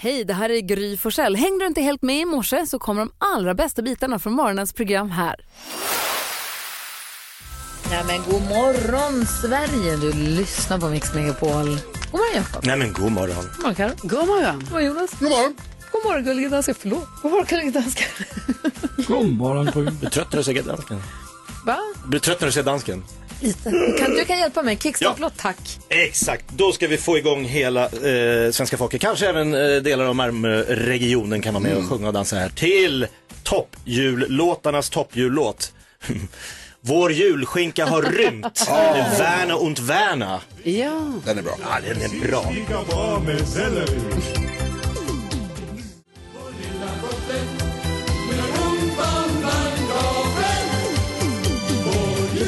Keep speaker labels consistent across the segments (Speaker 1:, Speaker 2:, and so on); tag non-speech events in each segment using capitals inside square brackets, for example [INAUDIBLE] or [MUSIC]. Speaker 1: Hej, det här är Gry Forssell. Hängde du inte helt med i morse så kommer de allra bästa bitarna från morgonens program här. Ja, men god morgon, Sverige. Du lyssnar på Mix Megapol. God morgon, Jakob.
Speaker 2: Nej men god morgon.
Speaker 1: God morgon, Karo. God morgon. God morgon, Jonas. God morgon. God morgon, gullige danska. Förlåt. God morgon, gullige danska.
Speaker 2: God morgon [LAUGHS] på Blir trött när du säger dansken?
Speaker 1: Va?
Speaker 2: Blir trött när du säger dansken?
Speaker 1: Lite. Kan, du kan hjälpa mig. Kickstart-låt, tack.
Speaker 2: Exakt, då ska vi få igång hela eh, svenska folket. Kanske även eh, delar av Malmöregionen kan vara med och sjunga och dansa här till toppjullåtarnas toppjullåt. [LAUGHS] Vår julskinka har [LAUGHS] rymt. Värna und Värna.
Speaker 1: Ja.
Speaker 3: Den är bra.
Speaker 2: Ja, den är bra.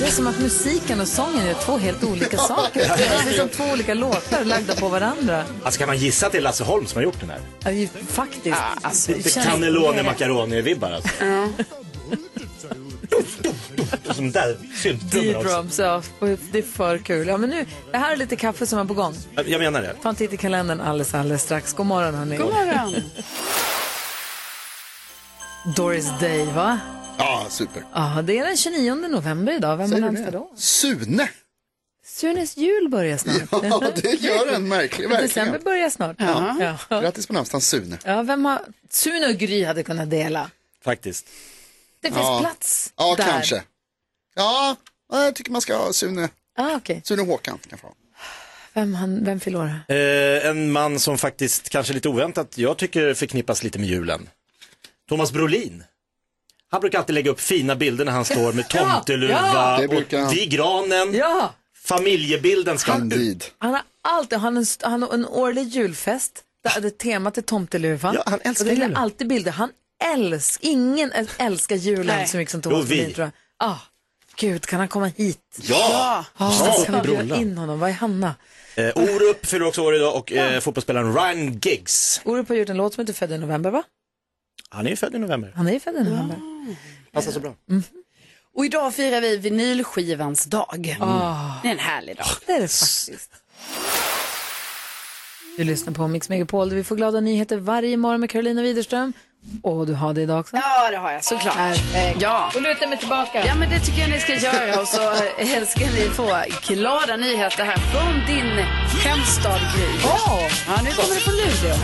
Speaker 1: Det är som att musiken och sången är två helt olika saker. Det är som två olika låtar lagda på varandra.
Speaker 2: Alltså kan man gissa att det är Lasse Holm som har gjort den här?
Speaker 1: Ja, ju Faktiskt.
Speaker 4: Alltså,
Speaker 2: Lite Ah, cannelloni macaroni-vibbar alltså. Och Som där, syltbrummor
Speaker 1: Deep
Speaker 2: också.
Speaker 1: drums, ja. Och Det är för kul. Ja, men nu, det här är lite kaffe som är på gång.
Speaker 2: Jag menar det.
Speaker 1: Ta en titt i kalendern alldeles, alldeles strax. God morgon, hörni.
Speaker 4: God morgon.
Speaker 1: Doris Day, va?
Speaker 3: Ja, super.
Speaker 1: Ja, det är den 29 november idag. Vem har
Speaker 3: Säger du
Speaker 1: namnsdag
Speaker 3: det?
Speaker 1: då?
Speaker 3: Sune!
Speaker 1: Sunes jul börjar snart.
Speaker 3: Ja, det gör den märklig,
Speaker 1: December
Speaker 3: verkligen.
Speaker 1: börjar snart. Ja. Ja.
Speaker 3: Grattis på namnsdagen Sune.
Speaker 1: vem har... Sune och Gry hade kunnat dela.
Speaker 2: Faktiskt.
Speaker 1: Det finns
Speaker 3: Ja.
Speaker 1: plats
Speaker 3: Ja,
Speaker 1: där.
Speaker 3: kanske. Ja, jag tycker man ska ha Sune.
Speaker 1: Ah, okej.
Speaker 3: Sune Håkan kanske. ha.
Speaker 1: Vem, han, vem fyller år här?
Speaker 2: Eh, en man som faktiskt, kanske lite oväntat, jag tycker förknippas lite med julen. Thomas Brolin. Han brukar alltid lägga upp fina bilder när han står med tomteluva
Speaker 1: [LAUGHS] ja.
Speaker 3: Det brukar han.
Speaker 2: och vid granen.
Speaker 1: Ja!
Speaker 2: Familjebilden ska han ut.
Speaker 3: Indeed.
Speaker 1: Han har alltid han har en, st- han har en årlig julfest där det temat är tomteluvan.
Speaker 2: Ja, han älskar
Speaker 1: Och det är
Speaker 2: julen.
Speaker 1: alltid bilder. Han älskar, ingen äl- älskar julen
Speaker 4: Nej.
Speaker 1: så mycket som
Speaker 2: Jo,
Speaker 1: Thomas
Speaker 2: vi.
Speaker 1: Brolin tror jag. Ah, gud, kan han komma hit?
Speaker 2: Ja!
Speaker 1: Ah, ska vi bjuda
Speaker 2: Brolla.
Speaker 1: in honom? Var är Hanna?
Speaker 2: Eh, Orup fyller också år idag och eh, fotbollsspelaren Ryan Giggs.
Speaker 1: Orup har gjort en låt som inte är född i november, va?
Speaker 2: Han är ju född i november.
Speaker 1: Han är ju född i november. Mm.
Speaker 2: Passar så bra.
Speaker 4: Och idag firar vi vinylskivans dag. Mm. Det är en härlig dag.
Speaker 1: Ah. Det är det faktiskt. Du lyssnar på Mix Megapol där vi får glada nyheter varje morgon med Carolina Widerström. Och du har det idag också. eh,
Speaker 4: Ja, det har jag såklart. Ja.
Speaker 1: Och luta mig tillbaka.
Speaker 4: ja, men det tycker jag ni ska göra
Speaker 1: [LAUGHS]
Speaker 4: och så eh, ska ni få glada nyheter här från din hemstad Gry. Ja, nu kommer det från Luleå.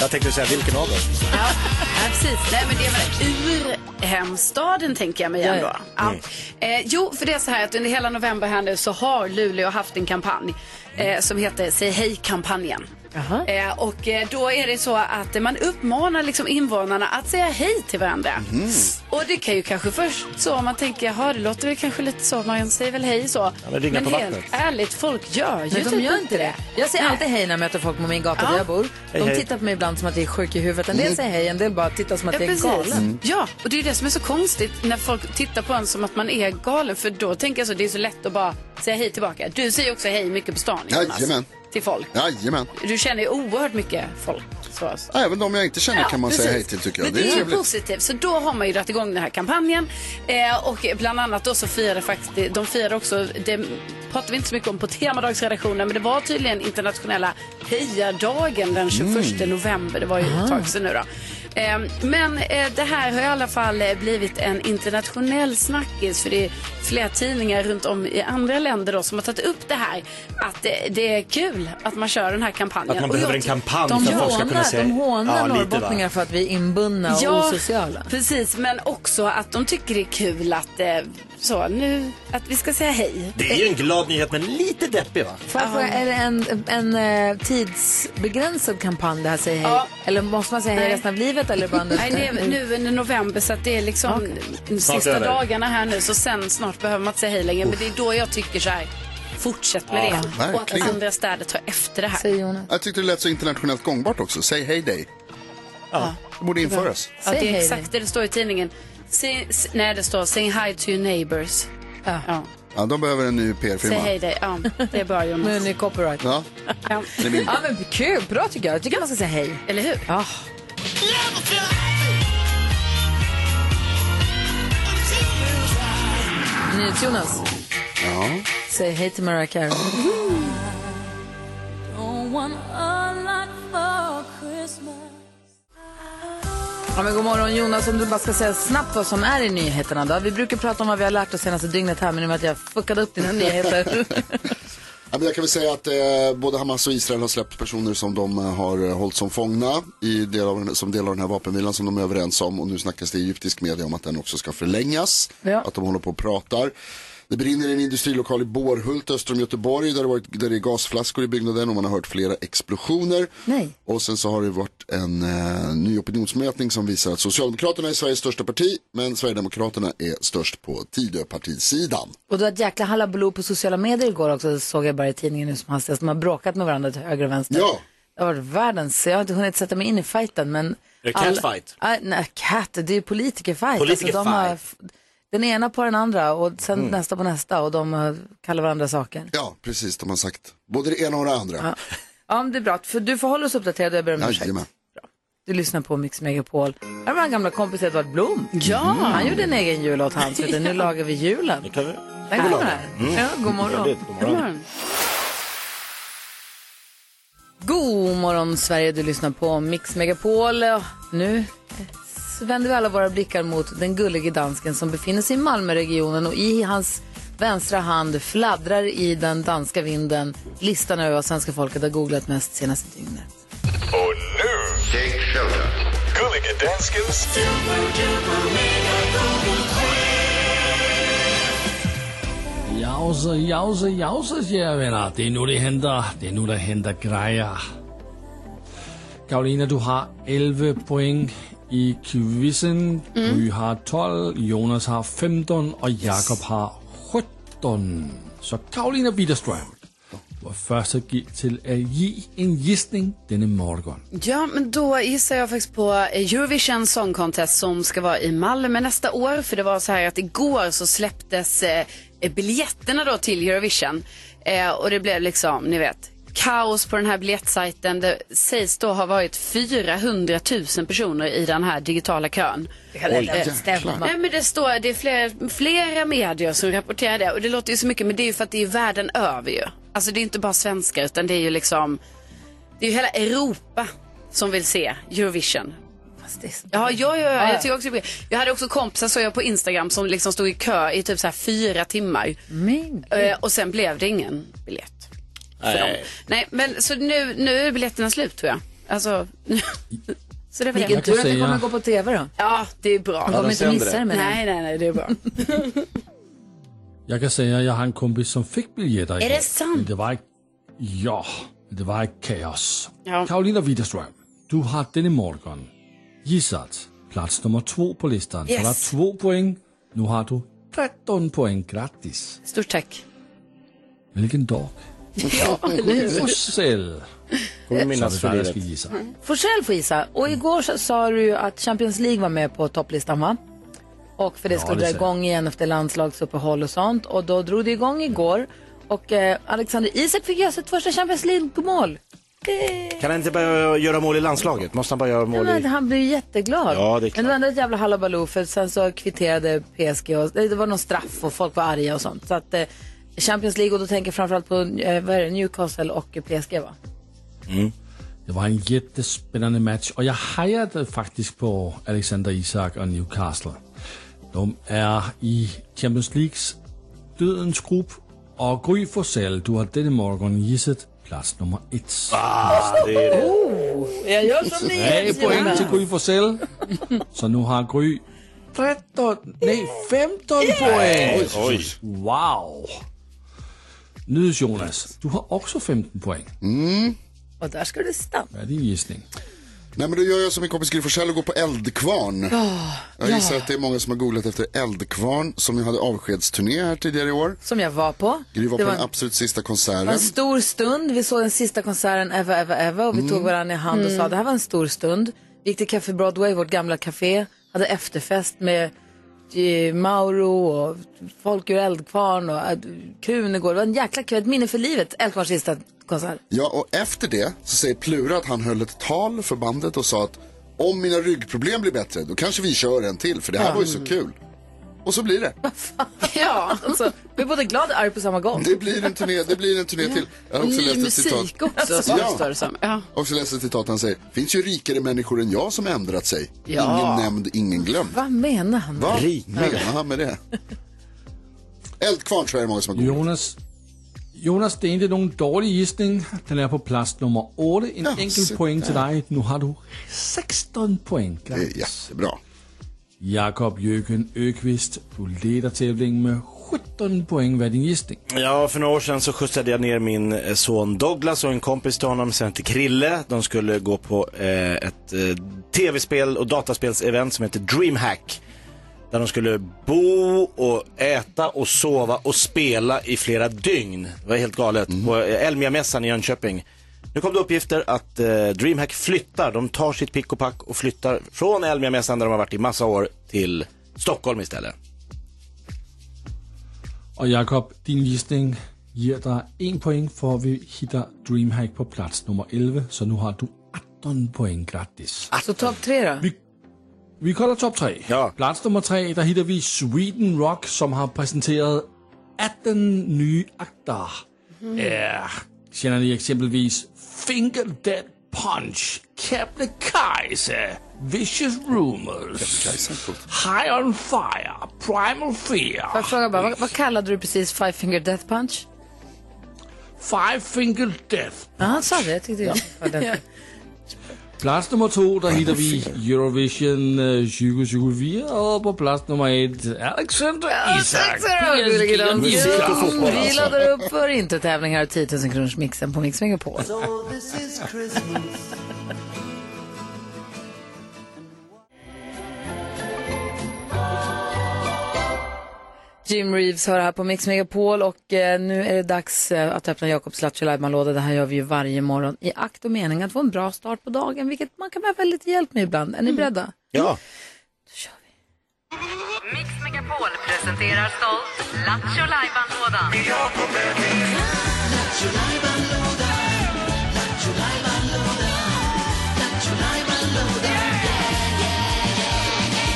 Speaker 2: Jag tänkte säga vilken av dem?
Speaker 4: Ja, ja, precis. Nej, men det är väl urhemstaden tänker jag mig ändå. Ja.
Speaker 2: Mm.
Speaker 4: Eh, jo, för det är så här att under hela november här nu så har Luleå haft en kampanj eh, som heter Säg hej-kampanjen.
Speaker 1: Jaha.
Speaker 4: Eh, och eh, då är det så att eh, man uppmanar liksom invånarna att säga hej till varandra.
Speaker 1: Mhm.
Speaker 4: Och det kan ju kanske först så om man tänker, jaha det låter väl kanske lite så, man säger väl hej så.
Speaker 2: men ringa på
Speaker 4: helt
Speaker 2: vattnet.
Speaker 4: ärligt, folk gör ju
Speaker 1: Nej, de
Speaker 4: typ
Speaker 1: gör inte det. Jag säger alltid hej när jag möter folk på min gata där jag bor. De
Speaker 2: hej.
Speaker 1: tittar på mig ibland som att jag är sjuk i huvudet. En del
Speaker 4: Mm.
Speaker 1: säger hej, en del bara tittar som att jag är galen.
Speaker 4: Ja, och det är ju det som är så konstigt när folk tittar på en som att man är galen. För då tänker jag så, det är så lätt att bara säga hej tillbaka. Du säger också hej mycket på stan, Jonas,
Speaker 3: Jajamän.
Speaker 4: till folk.
Speaker 3: Jajamän.
Speaker 4: Du känner ju oerhört mycket folk. Så.
Speaker 3: Ja, Även de jag inte känner kan man säga hej till tycker jag.
Speaker 4: Men det är ju
Speaker 3: trevligt.
Speaker 4: positivt. Så då har man ju dragit igång den här kampanjen. Eh, och bland annat då så firade faktiskt, de firade också, det pratade vi inte så mycket om på temadagsredaktionen, men det var tydligen internationella hejadagen den 21
Speaker 3: Mm.
Speaker 4: november. Det var ju ett tag sedan nu då. Eh, men eh, det här har i alla fall eh, blivit en internationell snackis för det är flera tidningar runt om i andra länder då som har tagit upp det här att eh, det är kul att man kör den här kampanjen.
Speaker 2: Att man
Speaker 4: Och
Speaker 2: behöver
Speaker 4: jag
Speaker 2: en
Speaker 4: tycker-
Speaker 2: kampanj
Speaker 1: De
Speaker 2: för att folk ska kunna
Speaker 1: hånar,
Speaker 2: säga...
Speaker 1: de hånar
Speaker 2: Ja, lite, va?
Speaker 1: norrbottningar för att vi är inbundna och osociala.
Speaker 4: precis. Men också att de tycker det är kul att, eh, så, nu, att vi ska säga hej.
Speaker 2: Det är ju en glad nyhet men lite deppig va?
Speaker 1: Får jag fråga, är det en, en eh, tidsbegränsad kampanj det här säger hej?
Speaker 4: Ja.
Speaker 1: Eller måste man säga hej
Speaker 4: Nej.
Speaker 1: resten av livet eller bara under...
Speaker 4: [LAUGHS] Nej, det är nu under november så att det är liksom de
Speaker 2: Snart
Speaker 4: sista
Speaker 2: över.
Speaker 4: dagarna här nu så sen snart behöver man inte säga hej längre. Men det är då jag tycker så här, fortsätt med det. Och att
Speaker 3: verkligen.
Speaker 4: andra städer tar efter det här.
Speaker 1: Säger Jonas.
Speaker 3: Jag tyckte det lät så internationellt gångbart också. Säg hej dig. Det borde införas.
Speaker 4: Ja,
Speaker 1: Säg
Speaker 4: det är
Speaker 1: hej
Speaker 4: exakt det det står i tidningen. Say, s- nej, det står saying hi to your neighbors. Ja.
Speaker 3: Ja, de behöver en ny
Speaker 4: Säg
Speaker 3: PR-firma.
Speaker 4: hej dig. Ja, det är bra
Speaker 1: Nu är
Speaker 4: Jonas.
Speaker 1: ni copyright.
Speaker 3: Ja,
Speaker 4: Ja.
Speaker 3: det är min.
Speaker 1: Ja men kul, bra tycker jag. Jag tycker man ska säga hej.
Speaker 4: Eller hur?
Speaker 1: Ja. eh, NyhetsJonas,
Speaker 3: Ja.
Speaker 1: säg hej till Mariah Carey.
Speaker 5: want a lot for Christmas.
Speaker 1: Ja, men god morgon Jonas, om du bara ska säga snabbt vad som är i nyheterna då. Vi brukar prata om vad vi har lärt oss senaste dygnet här, men nu med att jag fuckade upp dina nyheter.
Speaker 3: Ja, men jag kan väl säga att eh, både Hamas och Israel har släppt personer som de eh, har hållit som fångna i del av, den- som del av den här vapenvilan som de är överens om. Och nu snackas det i egyptisk media om att den också ska förlängas.
Speaker 1: Ja.
Speaker 3: Att de håller på och pratar. Det brinner i en industrilokal i Bårhult öster om Göteborg där det, varit, där det är gasflaskor i byggnaden och man har hört flera explosioner.
Speaker 1: Nej.
Speaker 3: Och sen så har det varit en eh, ny opinionsmätning som visar att Socialdemokraterna är Sveriges största parti men Sverigedemokraterna är störst på Tidöpartisidan.
Speaker 1: och du har ett jäkla hallabaloo på sociala medier igår också, det såg jag bara i tidningen nu som hastigast. De har bråkat med varandra till höger och vänster.
Speaker 3: Ja.
Speaker 1: Det har varit världens, jag har inte hunnit sätta mig in i fighten men...
Speaker 2: Är det
Speaker 1: all-
Speaker 2: catfight?
Speaker 1: Ah, nej, cat, det är ju politikerfight. Alltså,
Speaker 2: Politikerfight.
Speaker 1: de har f- den ena på den andra och sen nästa på nästa och de har- kallar varandra saker.
Speaker 3: Mm. Ja, precis. De har sagt både det ena och det andra.
Speaker 1: Ja. ja, men det är bra. För du får hålla oss uppdaterade och jag ber om ursäkt.
Speaker 3: Jajamän.
Speaker 1: Du lyssnar på Mix Megapol. Här var en gamla kompis Edvard Blom. Mm.
Speaker 4: Ja.
Speaker 1: Han gjorde en egen jullåt han, så nu lagar vi julen.
Speaker 2: Det kan vi. Mm.
Speaker 1: Den kommer här. Ja, god morgon.
Speaker 2: Väldigt, god morgon.
Speaker 1: God morgon Sverige, du lyssnar på Mix Megapol. Och Nu vänder vi alla våra blickar mot den gullige dansken som befinner sig i Malmöregionen och i hans vänstra hand fladdrar i den danska vinden listan över vad svenska folket har googlat mest senaste dygnet.
Speaker 5: Och nu, Take shelter. Gullige Danskens
Speaker 6: Jause, jause, jause, kære venner. Det er nu, det henter, det er nu, der henter grejer. Karolina, du har 11 point i quizzen. Gry har 12, Jonas har 15 og Jakob har 17. Så Karolina Widerstrøm var første giv til at give en gissning denne morgen.
Speaker 4: Ja, men då gissar jag faktiskt på eh, Eurovision Song Contest som ska vara i Malmö nästa år. För det var så här att igår så släpptes eh, biljetterna då till Eurovision. Eh, och det blev liksom, ni vet, kaos på den här biljettsajten. Det sägs då ha varit 400 000 personer i den här digitala kön.
Speaker 1: Eh,
Speaker 3: jäklar.
Speaker 4: Nej men det står, det är flera, flera medier som rapporterar det och det låter ju så mycket men det är ju för att det är världen över ju. Alltså det är inte bara svenskar utan det är ju liksom, det är ju hela Europa som vill se Eurovision.
Speaker 1: Fantastiskt.
Speaker 4: Ja, ja, ja, ja.
Speaker 1: ja.
Speaker 4: jag tycker också det. Jag hade också kompisar såg jag på Instagram som liksom stod i kö i typ så här fyra timmar
Speaker 1: Men,
Speaker 4: Eh, och sen blev det ingen biljett. För Nej. Dem. Nej men så nu, nu är biljetterna slut tror jag. Alltså, [LAUGHS] så det är väl
Speaker 1: vilken
Speaker 4: det.
Speaker 1: tur att det
Speaker 6: säga-
Speaker 1: kommer gå på tv då.
Speaker 4: Ja, det är bra.
Speaker 1: Om inte
Speaker 2: sänder
Speaker 1: missar det menar jag.
Speaker 4: Nej, nej, nej, det
Speaker 1: [LAUGHS]
Speaker 4: är bra.
Speaker 6: Jeg kan sige, at jeg har en kompis, som fik billetter. i
Speaker 4: det
Speaker 6: går,
Speaker 4: sandt?
Speaker 6: Men det var ikke... Ja, men det var ikke kaos.
Speaker 4: Ja.
Speaker 6: Karolina Widerstrøm, du har denne morgen gissat plads nummer to på listen. Så
Speaker 4: Yes.
Speaker 6: der er to point. Nu har du 13 point gratis.
Speaker 4: Stort tack.
Speaker 6: Hvilken
Speaker 4: [LAUGHS]
Speaker 6: dog.
Speaker 1: [LAUGHS]
Speaker 6: Bruxelles. Så er
Speaker 2: Kommer du
Speaker 6: det
Speaker 2: minnas
Speaker 6: dig, der
Speaker 2: förliret?
Speaker 6: skal gisse.
Speaker 1: Forsell Mm. får gissa. Och igår så sa du ju att Champions League var med på topplistan va? Och för det skulle
Speaker 6: det
Speaker 1: dra
Speaker 6: ser jag.
Speaker 1: igång igen efter landslagsuppehåll och sånt. Och då drog det igång igår. Och eh, Alexander Isak fick göra sitt första Champions League-mål.
Speaker 2: Kan han inte bara göra mål i landslaget? Måste han bara göra mål
Speaker 1: Men
Speaker 2: i...
Speaker 1: han blev ju jätteglad.
Speaker 2: Ja, det är klart.
Speaker 1: Men det var ändå ett jävla hallabaloo för sen så kvitterade PSG och det var någon straff och folk var arga och sånt. Så att eh, Champions League och då tänker jag framförallt på eh, vad är det, Newcastle och PSG va?
Speaker 6: Mm. Det var en jättespännande match och jag hejade faktiskt på Alexander Isak och Newcastle. De är i Champions Leagues dödens grupp och Gry Forssell, du har denna morgon gissat plats nummer ett.
Speaker 2: Ah. Det är det.
Speaker 1: Jag gör som ni
Speaker 6: Tre poäng till Gry Forssell. Så nu har Gry 13, nej 15 poäng!
Speaker 2: Oj.
Speaker 6: Wow! Nydes Jonas, du har också 15 poäng.
Speaker 2: Mm.
Speaker 1: Och där ska du stanna.
Speaker 6: Vad är din gissning?
Speaker 3: Nej men då gör jag som min kompis Gry Forssell och går på Eldkvarn. jag gissar att det är många som har googlat efter Eldkvarn som jag hade avskedsturné här tidigare i år.
Speaker 1: Som jag var på.
Speaker 3: Gry var
Speaker 1: Det
Speaker 3: på
Speaker 1: var
Speaker 3: den
Speaker 1: en-
Speaker 3: absolut sista
Speaker 1: Det var
Speaker 3: konserten.
Speaker 1: en stor stund. Vi såg den sista konserten Eva, Eva, Eva och vi
Speaker 3: Mm.
Speaker 1: tog varandra i hand och sa det här var en stor stund. Vi gick till Café Broadway, vårt gamla café, hade efterfest med eh, Mauro och folk ur Eldkvarn och eh, Krunegård. Det var en jäkla kväll, ett minne för livet, Eldkvarns sista
Speaker 3: [LAUGHS]
Speaker 1: konsert.
Speaker 3: Ja och efter det så säger Plura att han höll ett tal för bandet och sa att om mina ryggproblem blir bättre då kanske vi kör en till för det här var ju så kul. Och så blir det.
Speaker 4: Ja.
Speaker 1: Alltså, vi är både glada och arga på samma gång.
Speaker 3: Det blir en turné, det blir en turné till. Jag har också
Speaker 4: Ny
Speaker 3: läst ett citat.
Speaker 4: musik också, som
Speaker 3: Ja.
Speaker 4: det står det som. Ja.
Speaker 3: Jag har Också läst ett citat han säger. Finns ju rikare människor än jag som ändrat sig.
Speaker 4: Ja.
Speaker 3: Ingen nämnd, ingen glömd.
Speaker 1: Vad menar han?
Speaker 3: Va? Menar han med det? Eldkvarn tror jag det är många som har gått.
Speaker 6: Jonas, Jonas, det är inte någon dålig gissning. Den är på plats nummer 8. En enkel
Speaker 3: så
Speaker 6: poäng till dig. Nu har du 16 poäng.
Speaker 3: Det är
Speaker 4: [LAUGHS]
Speaker 3: jättebra.
Speaker 6: Jakob Jöken Ökvist, du leder tävlingen med 17 poäng. Vad är din gissning?
Speaker 2: Ja, för några år sedan så skjutsade jag ner min eh, son Douglas och en kompis till honom, sen till Krille. De skulle gå på eh, ett eh, tv-spel och dataspelsevent som heter DreamHack. Där de skulle bo och äta och sova och spela i flera dygn. Det var helt galet. På eh, Elmia-mässan i Jönköping. Nu kom det uppgifter att eh, DreamHack flyttar. De tar sitt pick och pack och flyttar från Elmia-mässan där de har varit i massa år till Stockholm istället.
Speaker 6: Och Jakob, din gissning ger dig 1 poäng för vi hittar DreamHack på plats nummer 11. Så nu har du 18 poäng. Grattis!
Speaker 1: Så topp tre då?
Speaker 6: Vi kollar topp 3.
Speaker 2: Ja.
Speaker 6: Plats nummer 3, där hittar vi Sweden Rock som har presenterat 18 nya akter. Eh, känner ni exempelvis Finger Dead Punch, Kebnekaise, Vicious Rumors, High on Fire, Primal
Speaker 1: Får
Speaker 6: Fear,
Speaker 1: jag fråga bara, vad, vad kallade du precis Five Finger Death Punch?
Speaker 6: Five Finger Death.
Speaker 1: Ja, han sa det. Jag tyckte jag var
Speaker 6: [LAUGHS]
Speaker 1: den.
Speaker 6: Plats nummer 2, där hittar vi Eurovision eh, 2024 och på plats nummer 1, Alexander Isak.
Speaker 1: Musik och fotboll
Speaker 6: alltså.
Speaker 1: Vi laddar upp för inte tävlingar och 10 000 kronors mixen på Mix Megapol. Jim Reeves hör här på Mix Megapol och eh, nu är det dags eh, att öppna Jakobs Lattjo låda Det här gör vi ju varje morgon i akt och mening att få en bra start på dagen, vilket man kan behöva lite hjälp med ibland. Är ni beredda?
Speaker 2: Ja.
Speaker 7: Mix Megapol presenterar stolt Lattjo Lajban-lådan.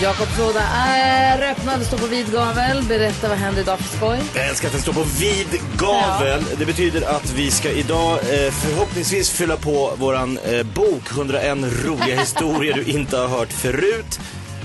Speaker 1: Jakobs låda är öppnad och står på vid gavel. Berätta vad händer idag för skoj.
Speaker 2: Eh, Jag älskar att den står på vid gavel. Det betyder att vi ska idag eh, förhoppningsvis fylla på våran eh, bok 101 roliga historier du inte har hört förut.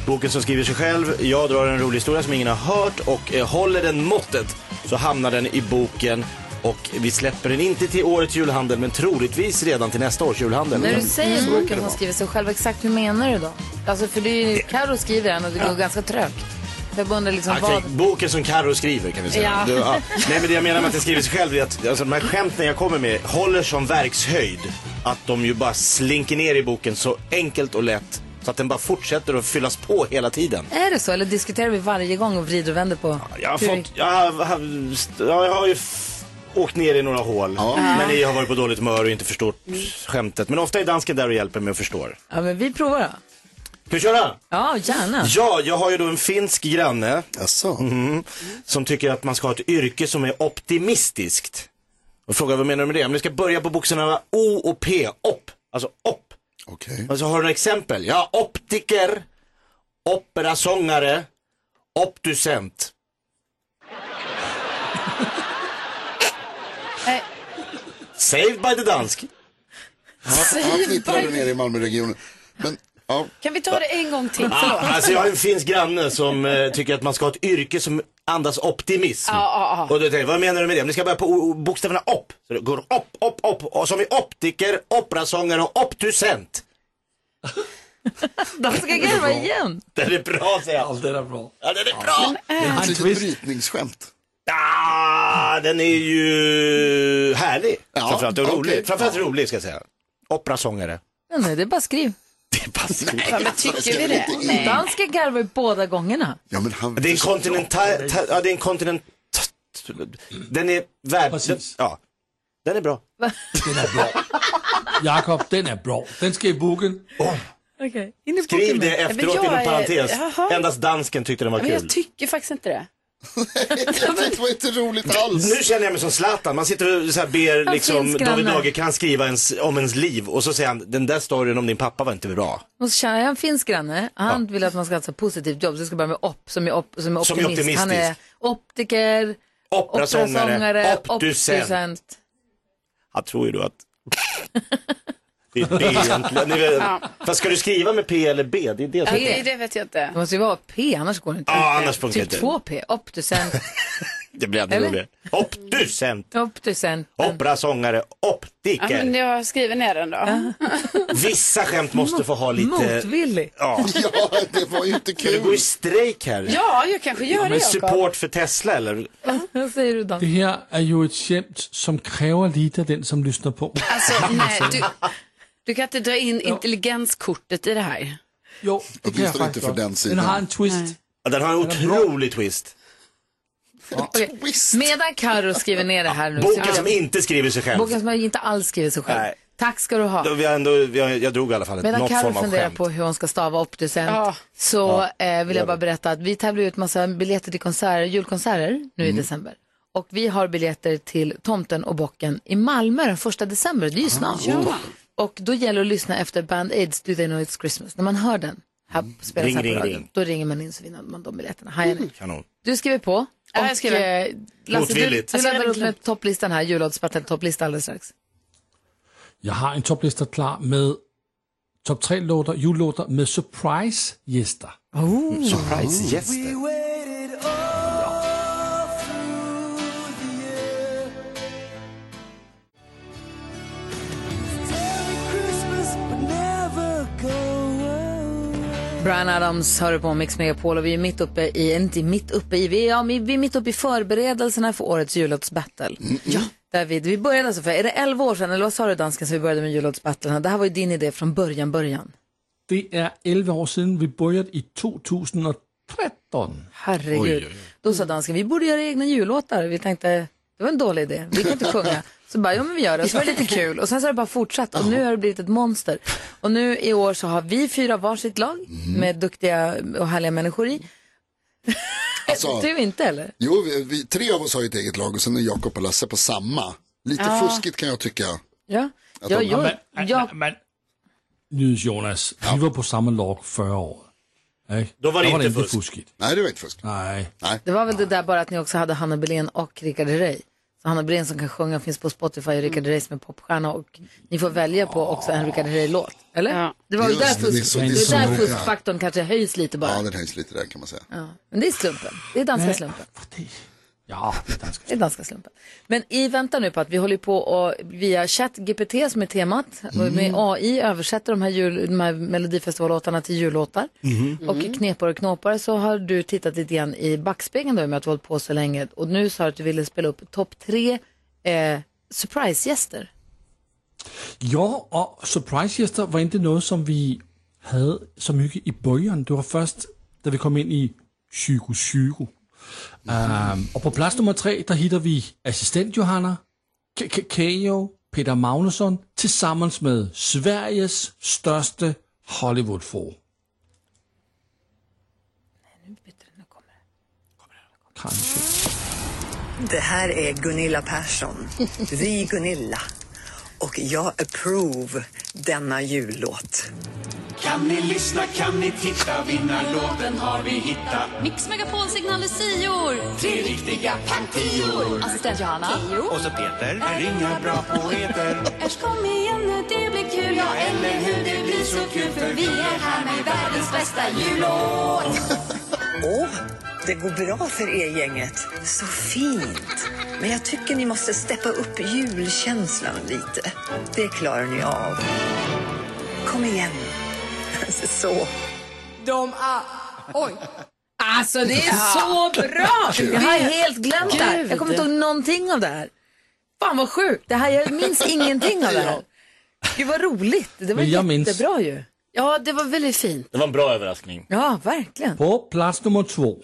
Speaker 2: Boken som skriver sig själv. Jag drar en rolig historia som ingen har hört och eh, håller den måttet så hamnar den i boken. Och vi släpper den inte till årets julhandel men troligtvis redan till nästa års julhandel. Mm.
Speaker 1: När du säger boken som Mm. skriver sig själv, exakt hur menar du då? Alltså för det är ju Carro skriver den och det går ganska trögt. Så jag bara undrar liksom
Speaker 2: Okej,
Speaker 1: vad...
Speaker 2: boken som Carro skriver kan vi säga.
Speaker 1: Ja.
Speaker 2: Du, ja. Nej men det jag menar med att den skriver sig själv är att alltså, de här skämten jag kommer med håller som verkshöjd. Att de ju bara slinker ner i boken så enkelt och lätt så att den bara fortsätter att fyllas på hela tiden.
Speaker 1: Är det så? Eller diskuterar vi varje gång och vrider och vänder på?
Speaker 2: Jag har,
Speaker 1: hur-
Speaker 2: fått, jag har, har- jag har ju f- åkt ner i några hål. Men ni har varit på dåligt humör och inte förstått skämtet. Men ofta är dansken där och hjälper mig att förstå.
Speaker 1: Ja, men vi provar då.
Speaker 2: Ska vi köra?
Speaker 1: Ja, gärna.
Speaker 2: Ja, jag har ju då en finsk granne Mhm.
Speaker 3: Jaså?
Speaker 2: som tycker att man ska ha ett yrke som är optimistiskt. Och frågar vad menar du med det? Men du ska börja på bokstäverna O och P. Opp. Alltså opp.
Speaker 3: Okej.
Speaker 2: Alltså har du några exempel? Ja, optiker, operasångare, optusent.
Speaker 4: Eh,
Speaker 1: Nej.
Speaker 2: Saved by the dansk.
Speaker 3: Han, han fnittrade ner i Malmöregionen. Men, ja,
Speaker 4: Kan vi ta det en gång till?
Speaker 2: Ah,
Speaker 4: Förlåt.
Speaker 2: alltså jag har en finsk granne som eh, tycker att man ska ha ett yrke som andas optimism. Och då tänker jag, vad menar du med det? Men det ska börja på o- o- bokstäverna opp. Så det går opp, opp, opp. Och som i optiker, operasångare och optusent.
Speaker 1: De ska garva igen. äh,
Speaker 2: Den är bra säger jag.
Speaker 6: Allt det där bra.
Speaker 2: Ja, den är bra!
Speaker 1: Eh.
Speaker 3: ett
Speaker 1: Alltså,
Speaker 3: litet
Speaker 6: visst.
Speaker 3: brytningsskämt.
Speaker 2: Ah, den är ju härlig.
Speaker 3: Ja,
Speaker 2: Framförallt och rolig.
Speaker 3: okej.
Speaker 2: Framförallt rolig ska jag säga. Operasångare.
Speaker 1: Ja, nej, det är bara skriv.
Speaker 2: Det passar inte.
Speaker 4: Ja, men tycker vi det?
Speaker 3: Nej.
Speaker 1: Dansken garvar ju båda gångerna.
Speaker 3: Ja, men han,
Speaker 2: Det är en kontinental... ta- Ja, det är en kontinent... Den är värd...
Speaker 6: Precis.
Speaker 2: Ja. Den är bra.
Speaker 6: Jakob, den är bra. Den ska i boken.
Speaker 1: Inne på
Speaker 2: Skriv det
Speaker 4: men
Speaker 2: efteråt
Speaker 4: jag
Speaker 2: inom
Speaker 4: är-
Speaker 2: parentes.
Speaker 4: Jaha.
Speaker 2: Endast dansken tyckte den var
Speaker 4: Men
Speaker 2: kul. [LAUGHS]
Speaker 4: jag tycker faktiskt inte det.
Speaker 3: det var inte roligt alls.
Speaker 2: Nu känner jag mig som Zlatan. Man sitter och så här ber liksom,
Speaker 1: finns granne.
Speaker 2: David Lagercrantz skriva ens, om ens liv och så säger han den där storyn om din pappa var inte bra.
Speaker 1: Och så känner jag en finsk granne. Han vill att man ska ha ett så positivt jobb. Så jag ska börja med OPP som är, op, som är
Speaker 2: Som är
Speaker 1: optimist. Han är
Speaker 2: optimistisk.
Speaker 1: optiker,
Speaker 2: Operasångare, optusent.
Speaker 1: optusent.
Speaker 2: Jag tror ju då att det är B egentligen. Ni vet, Fast ska du skriva med P eller B? Det är det som
Speaker 4: Det, det vet jag inte.
Speaker 1: Det måste ju vara P, annars går det inte.
Speaker 2: Ja, annars funkar
Speaker 1: typ
Speaker 2: inte.
Speaker 1: 2P, optusent,
Speaker 2: [LAUGHS] Det blir ännu
Speaker 1: Eller?
Speaker 2: roligare. Optusent,
Speaker 1: optusent.
Speaker 2: operasångare,
Speaker 4: Ja,
Speaker 2: optiker.
Speaker 4: men jag skriver ner den då.
Speaker 2: Vissa skämt måste få ha lite...
Speaker 1: Motvillig.
Speaker 2: Ja.
Speaker 3: [LAUGHS] Ja, det var ju inte
Speaker 2: Ska du gå i
Speaker 3: kul.
Speaker 2: strejk här?
Speaker 4: Ja, jag kanske gör det
Speaker 2: Med
Speaker 4: Jakob.
Speaker 2: support för Tesla eller?
Speaker 1: Vad säger du Dan?
Speaker 6: Det her er jo et skämt, som kräver lite af den, som lyssnar på.
Speaker 4: Alltså, nej, du, du kan inte dra in intelligenskortet i det här.
Speaker 6: Jo, det kan
Speaker 3: Åtminstone
Speaker 6: jeg
Speaker 3: ikke
Speaker 6: faktisk
Speaker 3: for
Speaker 6: godt.
Speaker 3: den siden.
Speaker 6: Den har en twist.
Speaker 2: Ja, Den har en otrolig twist.
Speaker 1: Okej.
Speaker 3: Twist.
Speaker 1: Medan Karo skriver ner det här nu. så vill
Speaker 2: Boken
Speaker 1: jag-
Speaker 2: som inte skriver sig själv.
Speaker 1: Boken som jag inte alls skrivit så själv.
Speaker 2: Nej.
Speaker 1: Tack ska du ha.
Speaker 2: Då Vi har ändå, vi har, jag drog i alla fall ett,
Speaker 1: Medan
Speaker 2: något
Speaker 1: Carro
Speaker 2: form av
Speaker 1: funderar
Speaker 2: skämt.
Speaker 1: på hur hon ska stava optusent
Speaker 4: Ja.
Speaker 1: så eh, vill jag bara berätta att vi tävlar ut massa biljetter till konserter, julkonserter nu
Speaker 2: Mm.
Speaker 1: i december. Och vi har biljetter till Tomten och Bocken i Malmö den första december, det är ju snart. Och då gäller det att lyssna efter Band Aids Do They Know It's Christmas. När man hör den, här spelas
Speaker 2: Mm. Ring,
Speaker 1: här på
Speaker 2: ring,
Speaker 1: radion,
Speaker 2: ring.
Speaker 1: då ringer man in så vinner man de biljetterna. Hajar ni?
Speaker 2: Kanon.
Speaker 1: Du skriver på. Och,
Speaker 4: Mm. Ja, jag skriver.
Speaker 1: eh, Lasse, du,
Speaker 2: Motvilligt.
Speaker 1: du laddar upp med topplistan här, juloddsbattle-topplista alldeles strax.
Speaker 6: Jeg har en topliste klar med top 3 låter, julelåter med surprise gæster. Mm.
Speaker 8: Uh.
Speaker 2: Surprise-gäster.
Speaker 1: Brian Adams hör du på Mix Megapol och vi är mitt uppe i, eh, inte mitt uppe i, vi är, ja, men vi är mitt uppe i förberedelserna för årets jullåtsbattle. Mm, Ja. David, vi började alltså för, är det 11 år sedan, eller vad sa du dansken, som vi började med jullåtsbattlarna? Det här var ju din idé från början, början.
Speaker 6: Det er 11 år siden, vi började i 2013.
Speaker 1: Herregud. Då sa dansken, vi borde göra egna jullåtar. Vi tänkte, det var en dålig idé, vi kan [LAUGHS] inte sjunga. Så bara, ja men vi gör det. Och så var det lite kul. Och sen så har det bara fortsatt. Och nu har det blivit ett monster. Och nu i år så har vi fyra varsitt lag med duktiga och härliga människor i.
Speaker 3: Alltså,
Speaker 1: Du inte eller?
Speaker 3: jo, vi, vi, tre av oss har ju ett eget lag och sen är Jakob och Lasse på samma. Lite fuskigt kan jag tycka.
Speaker 1: Ja. Ja,
Speaker 3: de-
Speaker 1: jag, jag,
Speaker 6: men, Nydes Jonas, vi var på samme log 40 år. Ikke?
Speaker 2: Då var det
Speaker 6: Der
Speaker 2: inte fusk.
Speaker 6: fusket.
Speaker 3: Nej, det var inte fusk.
Speaker 6: Nej.
Speaker 1: det var väl det där bara att ni också hade Hanna Belén och Rickard Herrey. Så Hanna Belén som kan sjunga finns på Spotify och Rickard Herrey som är popstjärna och ni får välja på också en Rickard Herrey-låt. Eller?
Speaker 4: Ja.
Speaker 1: Det var ju
Speaker 3: Just
Speaker 1: där,
Speaker 3: det, det är
Speaker 1: fusk,
Speaker 3: så-
Speaker 1: det
Speaker 3: det är
Speaker 6: så-
Speaker 1: är där
Speaker 3: ja.
Speaker 1: fuskfaktorn kanske höjs lite bara.
Speaker 3: Ja, den höjs lite där kan man säga.
Speaker 1: Ja. Men det är slumpen. Det är danska slumpen.
Speaker 6: Ja, det er dansk.
Speaker 1: Det är danska slumpen. Men i väntan nu på att vi håller på och via ChatGPT som är temat
Speaker 3: Mm.
Speaker 1: och med AI översätter de här, jul, de här melodifestivallåtarna till jullåtar Mm.
Speaker 9: Mm-hmm.
Speaker 1: och i knepar och knåpar så har du tittat lite grann i backspegeln då i och med att du har hållit på så länge och nu sa du att du ville spela upp topp tre eh, surprisegäster.
Speaker 6: Ja, og surprisegæster var ikke noget, som vi havde så mye i bøgeren. Det var først, da vi kom ind i Psyko Psyko. Um, og på plads nummer tre, der hitter vi assistent Johanna, K- K- Keo, Peter Magnusson, tilsammens med Sveriges største hollywood for. Kanskje.
Speaker 9: Det här är Gunilla Persson, vi Gunilla. Och jag approve denna jullåt.
Speaker 10: Kan ni lyssna, kan ni titta, vinnarlåten har vi hittat.
Speaker 11: Mix Megapol signalisior.
Speaker 10: Tre riktiga pangtior.
Speaker 11: Assistent Johanna.
Speaker 10: Och så Peter, här är inga bra poeter.
Speaker 11: Äsch kom igen nu, det blir kul. Ja, eller hur? Det blir så kul för vi är här med världens bästa jullåt.
Speaker 9: [LAUGHS] Åh, det går bra för er gänget. Så fint. Men jag tycker ni måste steppa upp julkänslan lite. Det klarar ni av. Kom igen. Så.
Speaker 1: Alltså det är så bra! Jag har helt glömt det här.
Speaker 4: Gud.
Speaker 1: Jag kommer inte ihåg någonting av det här. Fan vad sjukt, det här, jag minns ingenting av det här. Gud vad roligt, det var
Speaker 6: Men jag minns.
Speaker 1: jättebra ju.
Speaker 4: Ja, det var väldigt fint.
Speaker 2: Det var en bra överraskning.
Speaker 1: Ja, verkligen.
Speaker 6: På plads nummer två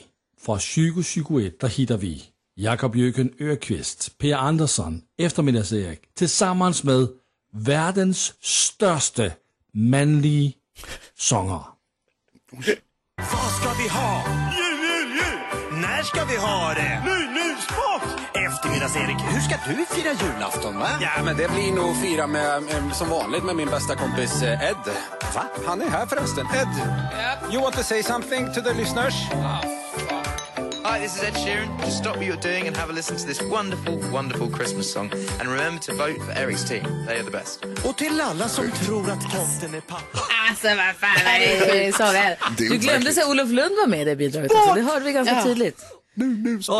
Speaker 6: fra Psyko Psyko 1, der hitter vi Jakob Jøken Økvist, Per Andersson, Eftermiddags-Erik, tilsammens med verdens største mandlige sanger.
Speaker 10: Vad ska vi ha? Jul, jul, jul!
Speaker 12: när ska vi ha det? Nu, nu, sport! Eftermiddags-Erik, hur ska du fira julafton, va?
Speaker 13: Ja, men det blir nog fira med, eh, som vanligt med min bästa kompis eh, Ed. Va? Han är här förresten. Ed, you want to say something to the listeners?
Speaker 14: Hi, this is Ed Sheeran. Just stop what you're doing and have a listen to this wonderful, wonderful Christmas song. And remember to vote for Eric's team. They are the best.
Speaker 12: Och till alla som tror att tomten är pappa.
Speaker 1: Alltså vad fan är det? Det är så det är.
Speaker 12: Det är
Speaker 1: Du glömde
Speaker 12: overkligt.
Speaker 1: säga Olof Lund var med i det bidraget också. Det hörde vi ganska
Speaker 12: Ja.
Speaker 1: tydligt.
Speaker 6: Ja,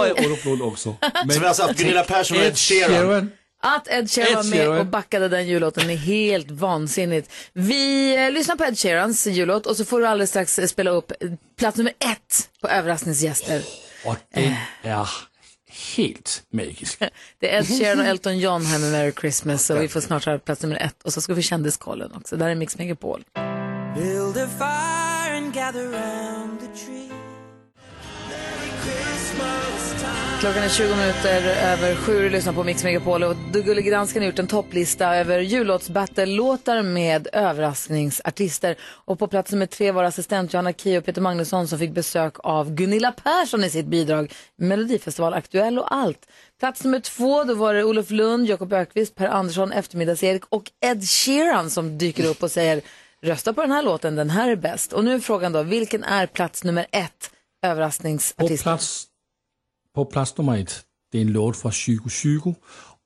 Speaker 6: jag Olof Lund också.
Speaker 2: Så vi har alltså haft Gunilla Persson och Ed Sheeran.
Speaker 1: Att Ed Sheeran
Speaker 2: Ed
Speaker 1: var med
Speaker 2: Sheeran.
Speaker 1: och backade den jullåten är helt vansinnigt. Vi eh, lyssnar på Ed Sheerans jullåt och så får du alldeles strax eh, spela upp eh, plats nummer ett på överraskningsgäster.
Speaker 6: Och den är helt magisk.
Speaker 1: [LAUGHS] Det är Ed Sheeran och Elton John här med Merry Christmas och vi får snart höra plats nummer ett och så ska vi kändiskollen också. Där är Mix Megapol.
Speaker 15: Build a fire and gather round the tree. Merry Christmas time.
Speaker 1: Klockan är 20 minuter över sju och lyssnar på Mix Megapol och Du Gullige Dansken har gjort en topplista över jullåtsbattle-låtar med överraskningsartister. Och på plats nummer tre var assistent Johanna Kio och Peter Magnusson som fick besök av Gunilla Persson i sitt bidrag Melodifestival Aktuell och allt. Plats nummer två, då var det Olof Lund, Jakob Ökvist, Per Andersson, Eftermiddags-Erik och Ed Sheeran som dyker upp och säger rösta på den här låten, den här är bäst. Och nu är frågan då, vilken är plats nummer ett?
Speaker 6: På
Speaker 1: Överraskningsartisten.
Speaker 6: plats, på plats nummer ett, det är en låt från Psyko Psyko.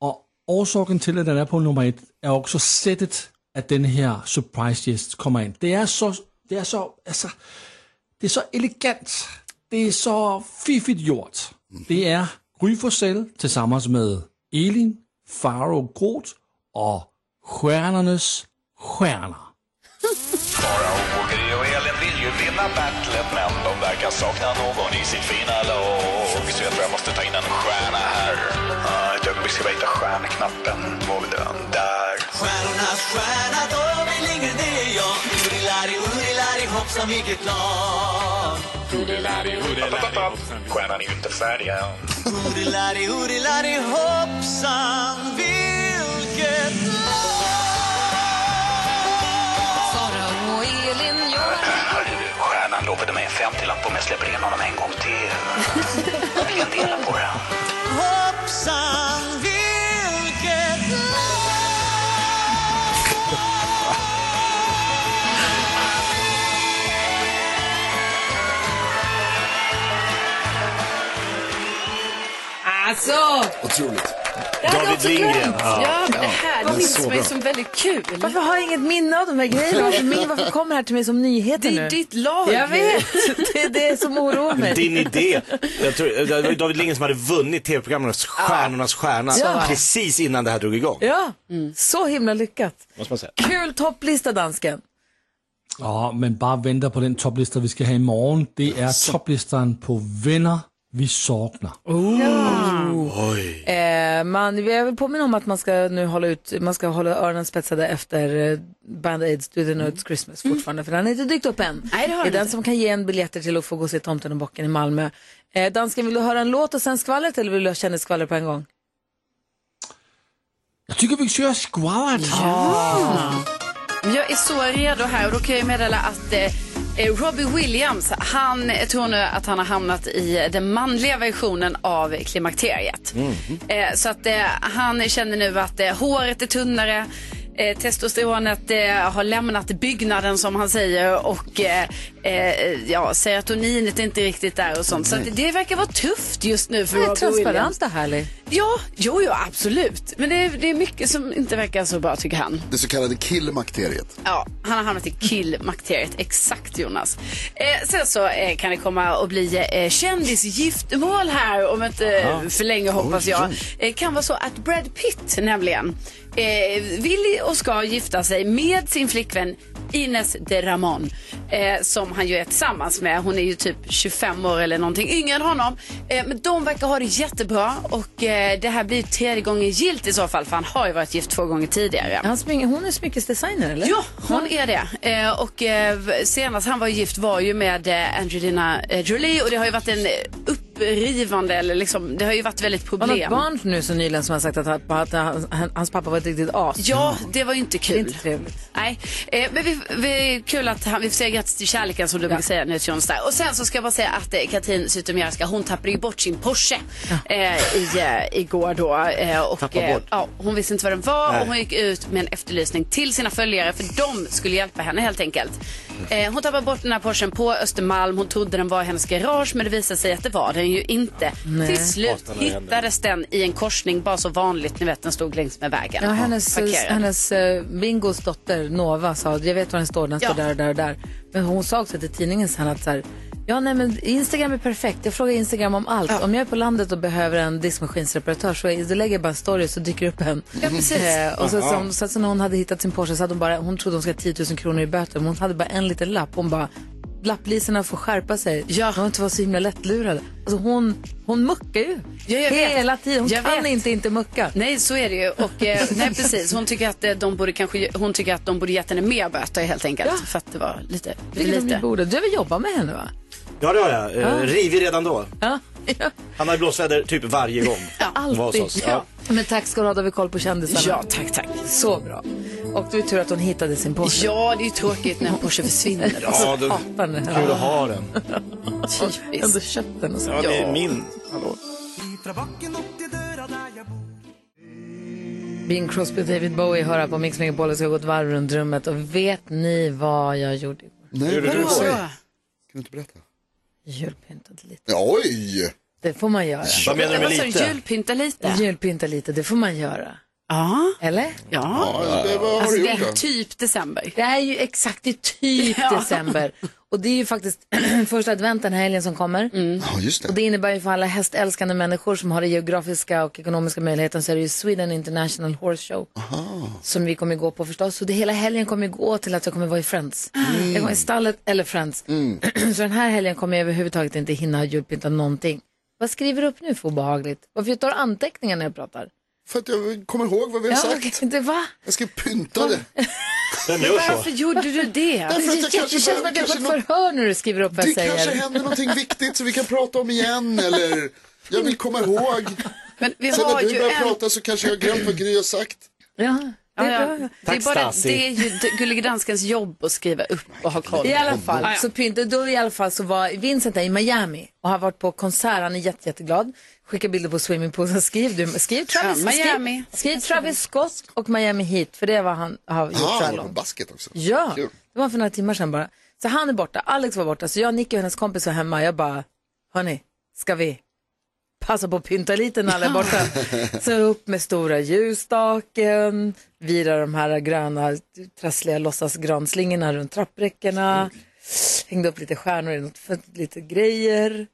Speaker 6: Och orsaken till att den är på nummer ett är också sättet att den här surprise gäst kommer in. Det är så, det är så, alltså, det är så elegant. Det är så fiffigt gjort. Det är Gry Forssell tillsammans med Elin, Faro Groth och Stjärnornas Stjärnor.
Speaker 5: Och Gry och Elin vill ju vinna battlet men de verkar sakna någon i sitt fina lag. Så jag tror jag måste ta in en stjärna här. Ah, Ett ögonblick ska vi hitta stjärnknappen. Var vi den? Där.
Speaker 15: Stjärnornas stjärna, de vill ingen, det är jag. Urilari, urilari, hoppsan vilket lag.
Speaker 5: Stjärnan är ju inte färdig än.
Speaker 15: Urilari, urilari, hoppsan vilket
Speaker 11: Sara och Elin
Speaker 5: Stjärnan lovade mig en femtiolapp om jag släpper in honom en gång till. Jag kan dela på den.
Speaker 15: Hoppsan vilket
Speaker 1: Alltså!
Speaker 3: Otroligt.
Speaker 4: Det hade jag också glömt. Ja,
Speaker 1: Ja,
Speaker 4: det här
Speaker 1: men
Speaker 4: minns
Speaker 1: så
Speaker 4: man ju
Speaker 1: bra.
Speaker 4: som väldigt kul.
Speaker 1: Varför har jag inget minne av de här grejerna? Varför, min, varför kommer det här till mig som nyheter
Speaker 4: Det är
Speaker 1: nu?
Speaker 4: ditt lag.
Speaker 1: Jag vet, det är det som oroar mig.
Speaker 2: Din idé. Jag tror, det var ju David Lindgren som hade vunnit tv-programmet Stjärnornas stjärna
Speaker 1: Så var det.
Speaker 2: precis innan det här drog igång.
Speaker 1: Ja,
Speaker 4: Mm.
Speaker 1: så himla lyckat.
Speaker 2: Måste man säga.
Speaker 1: Kul topplista dansken.
Speaker 6: Ja, men bara vänta på den topplista vi ska ha imorgon. Det är topplistan på vänner vi saknar.
Speaker 1: Ja.
Speaker 2: Oj.
Speaker 1: Eh, man, jag vill påminna om att man ska nu hålla ut, man ska hålla öronen spetsade efter eh, Band Aids Do the Notes Christmas fortfarande, för den har inte dykt upp än.
Speaker 4: Mm. Nej, det har
Speaker 1: är
Speaker 4: den
Speaker 1: den
Speaker 4: inte.
Speaker 1: som kan ge en biljetter till att få gå och se Tomten och Bocken i Malmö. Eh, dansken, vill du höra en låt och sen skvallret eller vill du ha kändisskvaller på en gång?
Speaker 6: Jag tycker vi kör skvallret.
Speaker 4: Men Jag är så redo här och då kan jag meddela att eh, eh, Robbie Williams, han tror nu att han har hamnat i den manliga versionen av klimakteriet. Eh, så att eh, han känner nu att eh, håret är tunnare, eh, testosteronet eh, har lämnat byggnaden som han säger och eh, eh, ja, serotoninet är inte riktigt där och sånt. Så att det verkar vara tufft just nu för
Speaker 1: Det är
Speaker 4: Robbie
Speaker 1: transparent
Speaker 4: Williams.
Speaker 1: och härlig.
Speaker 4: Ja, jo, jo, absolut. Men det är, det är mycket som inte verkar så bra tycker han.
Speaker 3: Det så kallade killmakteriet.
Speaker 4: Ja, han har hamnat i killmakteriet. Exakt Jonas. Eh, sen så eh, kan det komma att bli eh, kändisgiftmål här om inte eh,
Speaker 11: Aha.
Speaker 4: för länge hoppas
Speaker 11: Oj,
Speaker 4: jag.
Speaker 11: oj.
Speaker 4: Eh, kan vara så att Brad Pitt nämligen eh, vill och ska gifta sig med sin flickvän Ines de Ramon eh, som han ju är tillsammans med. Hon är ju typ 25 år eller någonting yngre än honom. Eh, men de verkar ha det jättebra och eh, det här blir ju tredje gången gilt i så fall för han har ju varit gift två gånger tidigare.
Speaker 1: Han smyger, hon är smyckesdesigner eller?
Speaker 4: Ja, hon är det. Eh, och eh, senast han var gift var ju med eh, Angelina eh, Jolie och det har ju varit en eh, upp upprivande eller liksom, det har ju varit väldigt
Speaker 1: Har något
Speaker 4: problem.
Speaker 1: barn nu så nyligen som har sagt att, han- att han- han- hans pappa var ett riktigt as?
Speaker 4: Ja, det var ju inte kul.
Speaker 1: Det är inte trevligt.
Speaker 4: Nej, eh, men vi, vi, kul att han, vi får säga grattis till kärleken som du brukar säga nu till Jonsson. Och sen så ska jag bara säga att eh, Katrin Zytomierska, hon tappade ju bort sin Porsche eh, i, eh, igår då. Eh, och,
Speaker 1: Tappade bort?
Speaker 4: ja, hon visste inte vad den var
Speaker 1: Nej.
Speaker 4: och hon gick ut med en efterlysning till sina följare för de skulle hjälpa henne helt enkelt. Eh, hon tappade bort den här Porschen på Östermalm. Hon trodde den var i hennes garage men det visade sig att det var den ju inte.
Speaker 1: Nej.
Speaker 4: Till slut
Speaker 1: Hatar när det händer.
Speaker 4: hittades den i en korsning bara så vanligt, ni vet den stod längs med vägen.
Speaker 1: Ja, hennes,
Speaker 4: Parkerad.
Speaker 1: hennes eh, Bingos dotter Nova sa, jag vet var den står, den står där och där och där. Men hon sa också till tidningen sen att så här, ja nej men Instagram är perfekt, jag frågar Instagram om allt. Om jag är på landet och behöver en diskmaskinsreparatör så är- då lägger jag bara en story så dyker det upp en.
Speaker 4: Ja, precis.
Speaker 1: Eh, och så,
Speaker 4: Aha.
Speaker 1: som, så, att så när hon hade hittat sin Porsche så hade hon bara, hon trodde hon skulle ha 10 000 kronor i böter men hon hade bara en liten lapp. Hon bara, lapplisorna får skärpa sig. Ja. De har inte varit så himla lättlurade. Alltså hon, hon muckar ju.
Speaker 4: Ja, jag vet.
Speaker 1: Hela tiden. Hon
Speaker 4: Jag
Speaker 1: kan
Speaker 4: vet.
Speaker 1: inte inte mucka.
Speaker 4: Nej, så är det ju. Och, eh, nej, precis. Hon tycker, att eh, de borde kanske, hon tycker att de borde gett henne mer böter helt enkelt.
Speaker 1: Ja.
Speaker 4: För att det var lite för
Speaker 1: Vilket de ju
Speaker 4: lite.
Speaker 1: borde. Du har väl jobbat med henne va?
Speaker 2: Ja, det har jag. Eh,
Speaker 1: Ja.
Speaker 2: Rivig redan då.
Speaker 1: Ja.
Speaker 2: Han har ju blåsväder typ
Speaker 1: [LAUGHS]
Speaker 2: varje gång.
Speaker 1: Alltid.
Speaker 2: Var hos oss. Ja.
Speaker 1: Men tack ska du ha, då har vi koll på kändisarna.
Speaker 4: Ja, tack, tack.
Speaker 1: Så bra. Och det är tur att hon hittade sin Porsche.
Speaker 4: Ja, det är ju tråkigt när en Porsche försvinner.
Speaker 2: Ja, du,
Speaker 1: Hatar den.
Speaker 2: kul att ha den.
Speaker 1: Typiskt. Ändå köpt den och så.
Speaker 2: Ja, det är min. Hallå.
Speaker 1: Bing Crosby och David Bowie hör här på Mix Megapol och ska gå ett varv runt rummet. Och vet ni vad jag gjorde igår?
Speaker 3: Nej,
Speaker 1: Gjorde
Speaker 3: vad
Speaker 1: du
Speaker 3: kan
Speaker 1: så?
Speaker 3: Kan du inte berätta?
Speaker 1: Julpyntade lite.
Speaker 3: Ja, oj!
Speaker 1: Det får man göra.
Speaker 3: Vad menar du med Vad sa du, lite?
Speaker 4: Julpynta lite?
Speaker 1: Julpynta lite, det får man göra.
Speaker 4: Ja.
Speaker 1: Eller?
Speaker 4: Ja.
Speaker 3: Ja, det- vad har
Speaker 4: alltså,
Speaker 3: du
Speaker 4: det
Speaker 3: gjort
Speaker 4: är
Speaker 3: då?
Speaker 4: typ december.
Speaker 1: Det är ju exakt, det är typ
Speaker 4: [LAUGHS] Ja.
Speaker 1: december. Och det är ju faktiskt [CLEARS THROAT] första advent den här helgen som kommer.
Speaker 4: Mm.
Speaker 3: Ja, just det.
Speaker 1: Och det innebär ju för alla hästälskande människor som har det geografiska och ekonomiska möjligheten så är det ju Sweden International Horse Show. Som vi kommer gå på förstås. Så det hela helgen kommer gå till att jag kommer vara i Friends.
Speaker 3: Mm.
Speaker 1: Jag kommer i stallet eller Friends. [CLEARS THROAT] så den här helgen kommer jag överhuvudtaget inte hinna ha julpynta någonting. Vad skriver du upp nu för obehagligt? Varför tar du anteckningar när jag pratar?
Speaker 3: För att jag kommer ihåg vad vi har
Speaker 1: Ja,
Speaker 3: sagt.
Speaker 1: okej, det, va?
Speaker 3: Jag ska pynta det.
Speaker 2: Vem
Speaker 4: Varför gjorde du det?
Speaker 1: Det,
Speaker 3: Därför att jag
Speaker 1: känns-
Speaker 3: kanske
Speaker 1: det känns som att
Speaker 3: behöver-
Speaker 1: jag får ett
Speaker 3: kanske något-
Speaker 1: förhör när du skriver upp vad
Speaker 3: Det
Speaker 1: jag säger.
Speaker 3: kanske händer någonting viktigt som vi kan prata om igen eller jag vill komma ihåg.
Speaker 4: Men vi
Speaker 3: Sen
Speaker 4: har
Speaker 3: när du
Speaker 4: ju
Speaker 3: börjar
Speaker 4: en...
Speaker 3: prata så kanske jag har glömt vad Gry har sagt.
Speaker 1: Ja, det
Speaker 4: Ja,
Speaker 1: är
Speaker 4: ja.
Speaker 1: bra.
Speaker 4: Det, är
Speaker 3: Tack,
Speaker 4: bara,
Speaker 3: Stassi.
Speaker 4: det är ju d- Gullige Danskens jobb att skriva upp och ha koll.
Speaker 1: I alla fall,
Speaker 4: Ja, ja.
Speaker 1: så pynta, då i alla fall så var Vincent där i Miami och har varit på konsert, han är jätte, jätteglad. Skickar bilder på swimmingpool, så skriv du, skriv Travis,
Speaker 4: Ja, Miami.
Speaker 1: skriv, skriv Travis Scott och Miami Heat, för det är vad han har gjort så
Speaker 3: Ja,
Speaker 1: här
Speaker 2: Ah,
Speaker 3: var på
Speaker 1: långt.
Speaker 3: basket också.
Speaker 1: Ja,
Speaker 3: Kul.
Speaker 1: det var för några timmar sedan bara. Så han är borta, Alex var borta, så jag, Nicky och hennes kompis var hemma. Jag bara, hörni, ska vi passa på att pynta lite när alla är
Speaker 16: [LAUGHS]
Speaker 1: borta?
Speaker 3: [LAUGHS]
Speaker 1: så upp med stora ljusstaken, vira de här gröna trassliga låtsasgranslingorna runt trappräckena, hängde upp lite stjärnor i något, för- lite grejer.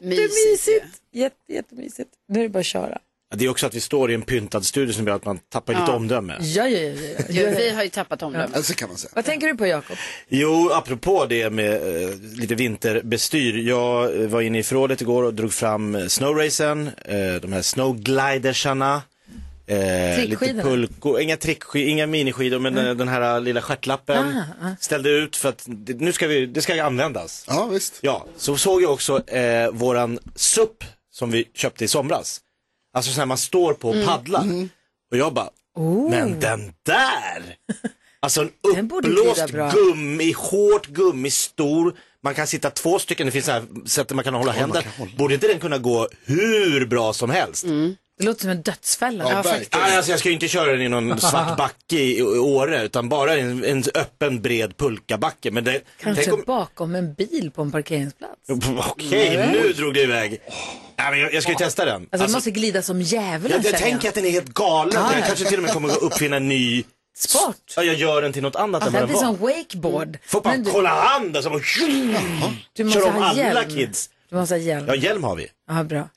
Speaker 1: Jättemysigt! Jätte, jättemysigt. Nu är det bara att köra.
Speaker 2: Ja, Det är också att vi står i en pyntad studio som gör att man tappar lite
Speaker 1: Ja. Mm.
Speaker 2: omdöme.
Speaker 1: Ja, ja, ja, ja.
Speaker 4: Jo, vi har ju tappat om det.
Speaker 3: så Alltså, kan man säga.
Speaker 1: Vad tänker du på, Jakob?
Speaker 2: Jo, apropå det med eh, lite vinterbestyr. Jag eh, var inne i förrådet igår och drog fram eh, snowracen, eh, de här snowglidersarna. Eh, lite
Speaker 1: Trickskidorna. Mm.
Speaker 2: pulko, inga trickskidor, inga miniskidor men eh, den här lilla stjärtlappen
Speaker 1: Ah, ah.
Speaker 2: ställde ut för att det, nu ska vi, det ska användas.
Speaker 3: Ja, visst.
Speaker 2: Ja, så såg jag också eh, våran SUP som vi köpte i somras. Alltså så här man står på och
Speaker 1: Mm. Oh.
Speaker 2: paddlar.
Speaker 1: Mm.
Speaker 2: Och jag bara, men den
Speaker 1: [LAUGHS]
Speaker 2: där! Alltså en uppblåst
Speaker 1: glida bra.
Speaker 2: gummi, hårt gummi, stor. Man kan sitta två stycken, det finns så här sätt där man kan hålla händer. Borde inte den kunna gå hur bra som helst?
Speaker 1: Det låter som en dödsfälla.
Speaker 2: Nej, alltså jag ska ju inte köra den
Speaker 1: [LAUGHS]
Speaker 2: i någon svart backe i, i Åre utan bara i en, en öppen bred pulkabacke. Men det,
Speaker 1: Kanske
Speaker 2: tänk om- [LAUGHS]
Speaker 1: bakom en bil på en parkeringsplats.
Speaker 2: Okej,
Speaker 1: Nej.
Speaker 2: nu drog det iväg. Nej, men jag, jag ska ju testa den.
Speaker 1: Alltså, den måste glida som djävulen.
Speaker 2: jag, jag
Speaker 1: känner
Speaker 2: tänker att den är helt galen.
Speaker 1: Ja,
Speaker 2: jag
Speaker 1: ja.
Speaker 2: kanske till och med kommer att uppfinna en ny
Speaker 1: Sport?
Speaker 2: Ja, jag gör den till något annat
Speaker 1: Ja,
Speaker 2: än vad
Speaker 1: det
Speaker 2: den
Speaker 1: blir
Speaker 2: var.
Speaker 1: som wakeboard.
Speaker 2: Mm. Får bara
Speaker 1: Men du-
Speaker 2: kolla han där som bara...
Speaker 1: Du måste
Speaker 2: Kör om
Speaker 1: ha
Speaker 2: alla
Speaker 1: hjälm.
Speaker 2: kids.
Speaker 1: Du måste ha hjälm.
Speaker 2: Ja, hjälm har vi.
Speaker 1: Ja, bra.